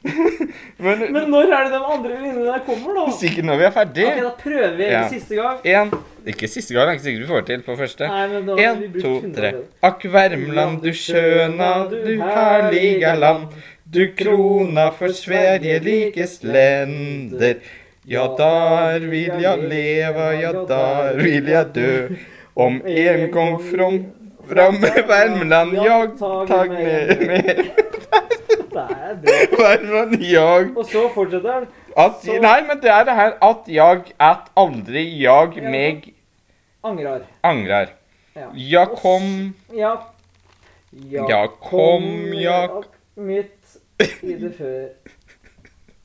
Speaker 2: Men
Speaker 1: Men når er det de andre linjene der kommer, da?
Speaker 2: sikkert når vi er ferdig.
Speaker 1: Ok, da prøver vi
Speaker 2: Ja.
Speaker 1: siste gang.
Speaker 2: Én Ikke siste gang, det er ikke sikkert vi får til på første.
Speaker 1: Nei, men da har
Speaker 2: Én,
Speaker 1: vi brukt
Speaker 2: to,
Speaker 1: 100
Speaker 2: tre.
Speaker 1: av det.
Speaker 2: Akk Värmland, du skjøna, du herliga land. Du krona for Sverige rikes lender. Ja, der vil jeg leve, ja, der vil jeg dø. Om en gang from, fram med Värmland, jag tag med, med
Speaker 1: Det er bra.
Speaker 2: Värmland, jag
Speaker 1: Og så fortsetter den.
Speaker 2: at, Nei, men det er det her at jeg at aldri jeg meg
Speaker 1: Angrar.
Speaker 2: angrer.
Speaker 1: Ja.
Speaker 2: Ja, kom
Speaker 1: Ja.
Speaker 2: Ja, kom, ja
Speaker 1: Midt i det før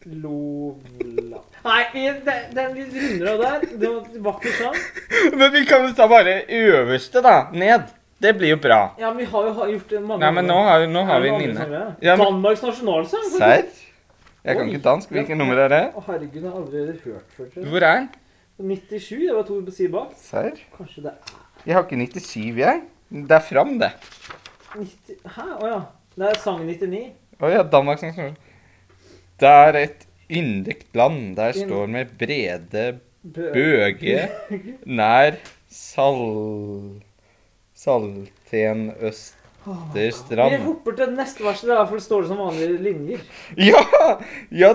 Speaker 1: Slovla... Nei, vi, det, det er litt rundere der. Det var- var ikke sånn.
Speaker 2: Men vi kan jo ta bare øverste, da. Ned. Det blir jo bra.
Speaker 1: Ja, men vi har jo ha- gjort det mange
Speaker 2: Nei, men nå har, nå har vi en inne. Ja, men-
Speaker 1: Danmarks nasjonalsang? faktisk.
Speaker 2: Serr? Jeg kan
Speaker 1: Oi.
Speaker 2: ikke dansk. Hvilket nummer er det?
Speaker 1: Å, herregud, jeg har aldri hørt før. tror jeg.
Speaker 2: Hvor er den?
Speaker 1: 97, det var to sider bak.
Speaker 2: Serr?
Speaker 1: Kanskje det er
Speaker 2: Jeg har ikke 97, jeg. Det er fram, det.
Speaker 1: 90... Hæ? Å ja. Det er sang 99.
Speaker 2: Å ja, Danmark som står Det er et yndigt land. Der står med brede
Speaker 1: Bø.
Speaker 2: bøge nær sal... Saltenøsterstrand.
Speaker 1: Åh. Vi hopper til neste vers, det er derfor det står det som vanlige linjer.
Speaker 2: Ja! Ja!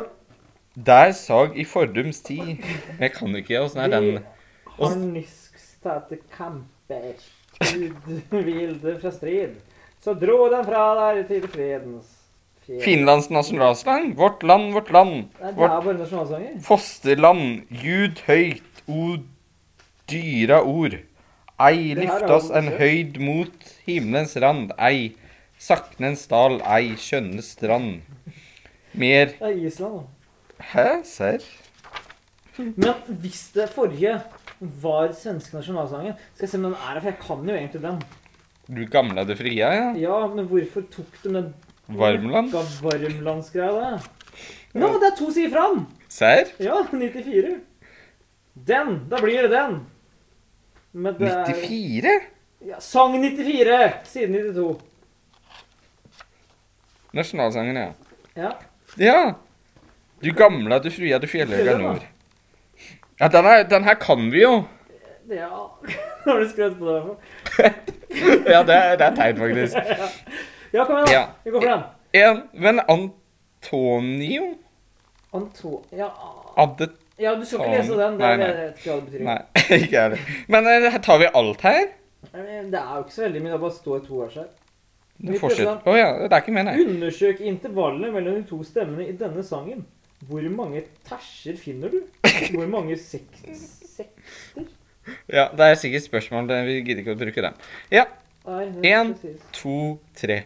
Speaker 2: Der sag i fordums tid. Men jeg kan jo ikke åssen er den Og-
Speaker 1: Harniskstæte kamper, utvilde fra strid. Så dro den fra der til fredens fjell.
Speaker 2: Finlands nasjonalsang. Vårt land, vårt land.
Speaker 1: Nei, det
Speaker 2: Vårt
Speaker 1: er bare nasjonalsanger.
Speaker 2: fosterland. Ljud høyt, o dyra ord. Ei
Speaker 1: Det her er
Speaker 2: lyftas
Speaker 1: jo
Speaker 2: en
Speaker 1: søtt.
Speaker 2: høyd mot himmelens rand. Ei saknens dal, ei skjønne strand. Mer
Speaker 1: Det er Island, da.
Speaker 2: Hæ, serr?
Speaker 1: Men hvis det forrige var svenske nasjonalsangen Skal jeg se om den er her, for jeg kan jo egentlig den.
Speaker 2: Du gamla det fria, ja?
Speaker 1: Ja, men hvorfor tok de den
Speaker 2: Varmland?
Speaker 1: jævla varmlandsgreia der? Nå, det er to sider fram!
Speaker 2: Serr?
Speaker 1: Ja, 94. Den! Da blir det den. Men det er-
Speaker 2: 94?
Speaker 1: Ja, sang 94, siden 92.
Speaker 2: Nasjonalsangen, ja.
Speaker 1: Ja.
Speaker 2: Ja. Du gamla, du fria, du fjellhøga
Speaker 1: Fjellhøga.
Speaker 2: nord. Ja, den her, den her kan vi jo.
Speaker 1: ja. Har du skrevet på det? i hvert fall?
Speaker 2: Ja, det er, det er teit, faktisk.
Speaker 1: Ja, kom igjen, da.
Speaker 2: Ja.
Speaker 1: Vi går for den.
Speaker 2: En, men Antonio
Speaker 1: Anto... Ja,
Speaker 2: Adde...
Speaker 1: ja du skal ikke lese den. Det
Speaker 2: Nei,
Speaker 1: er,
Speaker 2: nei.
Speaker 1: jeg vet ikke hva det betyr.
Speaker 2: Nei, ikke jeg heller. Men eh, tar vi alt her?
Speaker 1: Men Det er jo ikke så veldig mye. Det bare står to vers her.
Speaker 2: Du
Speaker 1: Vi
Speaker 2: fortsetter.
Speaker 1: prøver.
Speaker 2: Å ja, det er ikke mer, nei.
Speaker 1: Undersøk intervallene mellom de to stemmene i denne sangen. Hvor mange tersjer finner du? Hvor mange seks... seks...
Speaker 2: Ja, det er sikkert spørsmål, det- vi gidder ikke å bruke dem. Ja,
Speaker 1: Nei, det er
Speaker 2: En.
Speaker 1: presis.
Speaker 2: to, tre.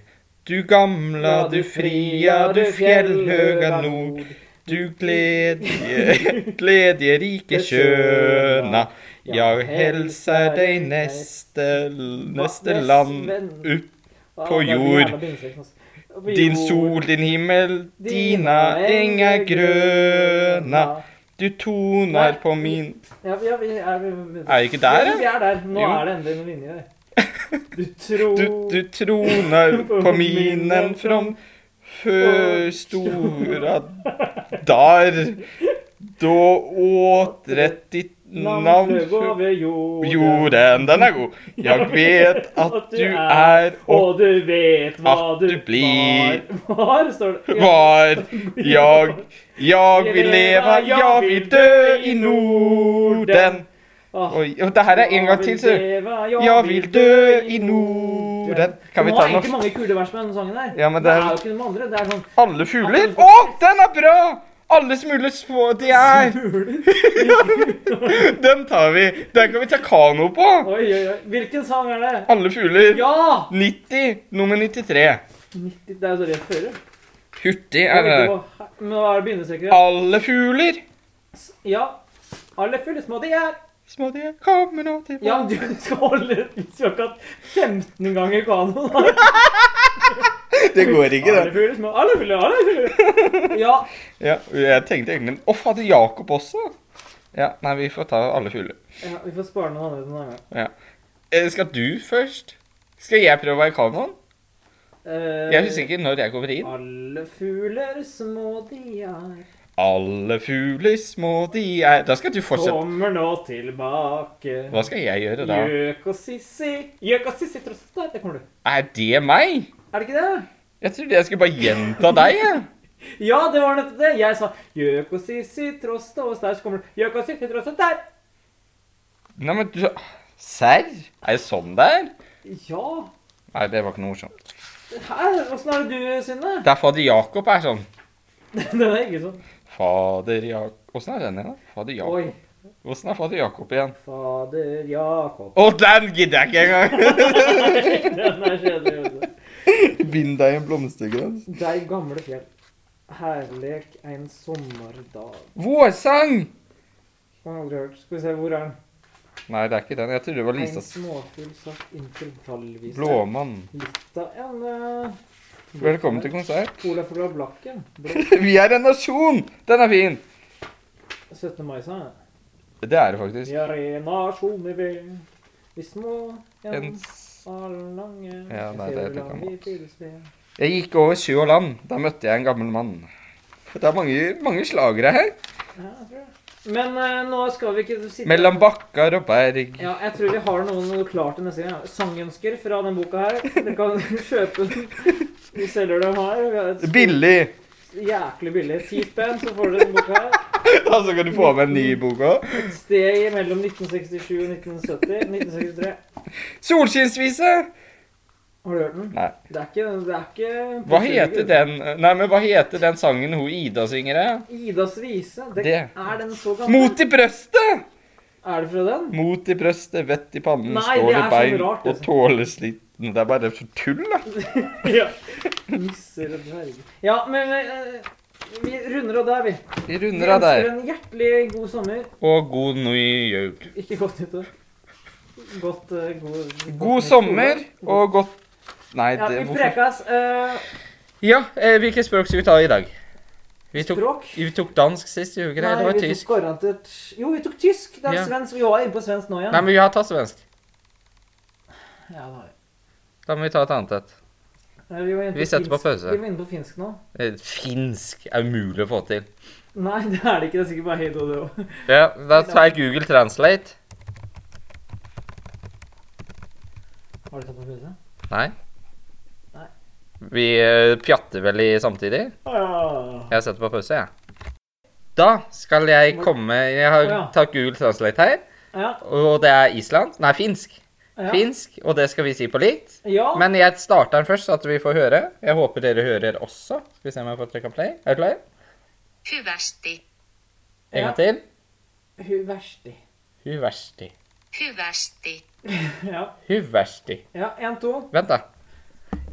Speaker 2: Du gamla, du fria, du fjellhøga nord. Du gledje, gledje rike sjøna. Ja, helser deg neste, neste land opp. på jord. Din sol, din himmel, dina enger grøna. Du toner på min
Speaker 1: Ja, vi, ja, vi er, vi, vi,
Speaker 2: Er vi ikke der,
Speaker 1: ja? Vi er der. Nå
Speaker 2: Jo.
Speaker 1: er det endelig noen linjer der. Du tror
Speaker 2: Du, du troner på minen from før stora dar. Da åtret ditt navn
Speaker 1: fløg over jorden.
Speaker 2: Jorden, den er god. Jeg vet at du er og
Speaker 1: Og du vet hva
Speaker 2: at
Speaker 1: du
Speaker 2: du blir.
Speaker 1: var. Var, står det.
Speaker 2: var. Jeg, jeg vil leve, jeg vil dø i Norden.
Speaker 1: Åh,
Speaker 2: Oi, og det her er en gang til,
Speaker 1: jeg
Speaker 2: så.
Speaker 1: Ah, vil leve,
Speaker 2: Jeg vil dø i Norden. Kan vi
Speaker 1: Det var
Speaker 2: ta
Speaker 1: egentlig
Speaker 2: norsk?
Speaker 1: mange kule vers med denne sangen her.
Speaker 2: Ja,
Speaker 1: det
Speaker 2: men det er-
Speaker 1: er jo ikke de andre. Det er sånn
Speaker 2: Alle fugler? Å, den er bra! Alle smuler små de er. Den tar vi. Den kan vi ta kano på.
Speaker 1: Oi, oi, oi. Hvilken sang er det?
Speaker 2: Alle fugler.
Speaker 1: Ja!
Speaker 2: 90, nummer 93.
Speaker 1: 90, det er jo så rett føre.
Speaker 2: Hurtig er det.
Speaker 1: Men hva er det begynnelsekker?
Speaker 2: Alle fugler.
Speaker 1: Ja. Alle fulle små de er.
Speaker 2: Små de er, kommer nå tilbake.
Speaker 1: Ja, men du skal holde Vi skal ikke ha 15 ganger kano. da.
Speaker 2: Det går ikke,
Speaker 1: Alle fulle små Alle fulle, alle fulle. Ja.
Speaker 2: Ja, jeg tenkte egentlig Å, fader, Jakob også? Ja, nei, vi får ta alle fugler.
Speaker 1: ja. Vi får spare noen andre til en annen gang.
Speaker 2: Eh, Skal du først? Skal jeg prøve å være kanoen?
Speaker 1: Eh,
Speaker 2: Jeg husker ikke når jeg kommer inn.
Speaker 1: Alle fugler små de er,
Speaker 2: Alle fugler små de er Da skal du fortsette.
Speaker 1: kommer nå tilbake.
Speaker 2: Hva skal jeg gjøre da?
Speaker 1: Gjøk og sissi Gjøk og sissi tross alt, det kommer du.
Speaker 2: Er det meg?
Speaker 1: Er det ikke det?
Speaker 2: Jeg trodde jeg skulle bare gjenta deg, jeg.
Speaker 1: Ja, det var nettopp det. Jeg sa gjøk og sissi tross det og der, så kommer det gjøk og sissi tross det der.
Speaker 2: Nei, men du Serr? Er det sånn det er?
Speaker 1: Ja.
Speaker 2: Nei, det var ikke noe morsomt.
Speaker 1: Hæ? Åssen er det du, Synne?
Speaker 2: Det er fader Jakob er sånn.
Speaker 1: Den er ikke sånn.
Speaker 2: Fader Jakob Åssen er den igjen? da? Fader Jakob.
Speaker 1: Oi.
Speaker 2: Åssen er fader Jakob igjen?
Speaker 1: Fader Jakob.
Speaker 2: Å, den gidder jeg ikke engang!
Speaker 1: Den er kjedelig. vet du.
Speaker 2: Bind deg i en blomsterkrans.
Speaker 1: Deg gamle fjell. Herlek en sommerdag.
Speaker 2: Vårsang!
Speaker 1: Jeg har aldri hørt. Skal vi se, hvor er den?
Speaker 2: Nei, det er ikke den. Jeg trodde det var
Speaker 1: En
Speaker 2: Lisas
Speaker 1: småfugl satt intervallvis.
Speaker 2: Blåmann.
Speaker 1: Litt av en eh,
Speaker 2: Velkommen til konsert.
Speaker 1: Olaf Olav Blakken. Blå-
Speaker 2: Vi er en nasjon! Den er fin!
Speaker 1: 17. mai-sang.
Speaker 2: Det er det faktisk.
Speaker 1: Vi er en nasjon i ved. Vi små en
Speaker 2: En...
Speaker 1: allange.
Speaker 2: Ja, nei, det er litt gammelt.
Speaker 1: gammelt.
Speaker 2: Jeg gikk over sjø og land. Da møtte jeg en gammel mann. Det er mange, mange slagere her.
Speaker 1: Ja, jeg tror det. Men eh, nå skal vi ikke sitte
Speaker 2: Mellom bakkar og berg.
Speaker 1: Ja, jeg tror vi har noen klart til neste gang. ja. Sangønsker fra den boka her. Dere kan kjøpe den. Vi selger dem her. Vi har et
Speaker 2: Billig!
Speaker 1: Jæklig billig. Ti spenn, så får dere den boka her.
Speaker 2: Og så kan du få med en ny bok òg.
Speaker 1: Et sted mellom 1967 og 1970. 1963.
Speaker 2: Solskinnsvise!
Speaker 1: Har du hørt den?
Speaker 2: Nei.
Speaker 1: Det er ikke Det er ikke
Speaker 2: Hva heter den Nei, men hva heter den sangen hun Ida synger? eh?
Speaker 1: Idas vise. Det,
Speaker 2: Det.
Speaker 1: Er den så gammel?
Speaker 2: Mot i brøstet!
Speaker 1: Er det fra den?
Speaker 2: Mot i brøstet, vett i pannen,
Speaker 1: Nei, det
Speaker 2: står i
Speaker 1: er sånn
Speaker 2: bein
Speaker 1: rart,
Speaker 2: og
Speaker 1: liksom.
Speaker 2: tåler sliten. Det er bare så tull, da.
Speaker 1: ja. Nisser og dverger. Ja, men eh, vi runder av der, vi.
Speaker 2: Vi
Speaker 1: Vi
Speaker 2: runder av
Speaker 1: ønsker
Speaker 2: der.
Speaker 1: en hjertelig god sommer.
Speaker 2: Og god ny jul.
Speaker 1: Ikke godt nyttår. Godt, eh, god,
Speaker 2: God sommer og godt Nei,
Speaker 1: ja,
Speaker 2: det
Speaker 1: Vi prekas. eh,
Speaker 2: Ja, eh, hvilket språk skal vi ta i dag? Vi tok,
Speaker 1: språk?
Speaker 2: vi tok dansk sist, gjorde vi ikke det? Det var
Speaker 1: vi
Speaker 2: tysk.
Speaker 1: tok garantert Jo, vi tok tysk. Det er
Speaker 2: Ja.
Speaker 1: svensk. Vi var inne på svensk nå igjen.
Speaker 2: Nei, men vi har tatt svensk.
Speaker 1: Ja, det var vi.
Speaker 2: Da må vi ta et annet et.
Speaker 1: Nei, vi, var inne
Speaker 2: Vi setter på
Speaker 1: finsk.
Speaker 2: pause.
Speaker 1: Vi var inne på finsk nå.
Speaker 2: Eh, Finsk er umulig å få til.
Speaker 1: Nei, det er det ikke. Det er sikkert bare hei do, det òg.
Speaker 2: Ja, da tar jeg Google Translate.
Speaker 1: Har du tatt på pause?
Speaker 2: Nei.
Speaker 1: Nei.
Speaker 2: Vi eh, pjatter vel i samtidig?
Speaker 1: Ah,
Speaker 2: Jeg setter på pause, jeg. Da skal jeg komme
Speaker 1: Å,
Speaker 2: Jeg har
Speaker 1: ja.
Speaker 2: tatt Google Translate her,
Speaker 1: ja.
Speaker 2: og det er Island. Nei, finsk.
Speaker 1: Ja.
Speaker 2: Finsk, og det skal vi si på likt.
Speaker 1: ja.
Speaker 2: Men jeg starter den først, så at vi får høre. Jeg håper dere hører også. Skal vi se om jeg får trykka play. Er du klar?
Speaker 3: Hyvästi,
Speaker 2: En
Speaker 1: Ja.
Speaker 2: gang til.
Speaker 1: Hun verste.
Speaker 2: Hyversti.
Speaker 3: hyvästi,
Speaker 1: Ja.
Speaker 2: Hyversti.
Speaker 1: ja. En, to.
Speaker 2: Vent, da.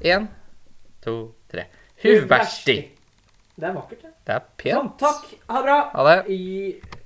Speaker 2: Én, to, tre. Hyversti.
Speaker 1: Det er vakkert, det.
Speaker 2: Det er
Speaker 1: Sånn.
Speaker 2: pent.
Speaker 1: Takk. Ha det bra.
Speaker 2: Ha det.
Speaker 1: I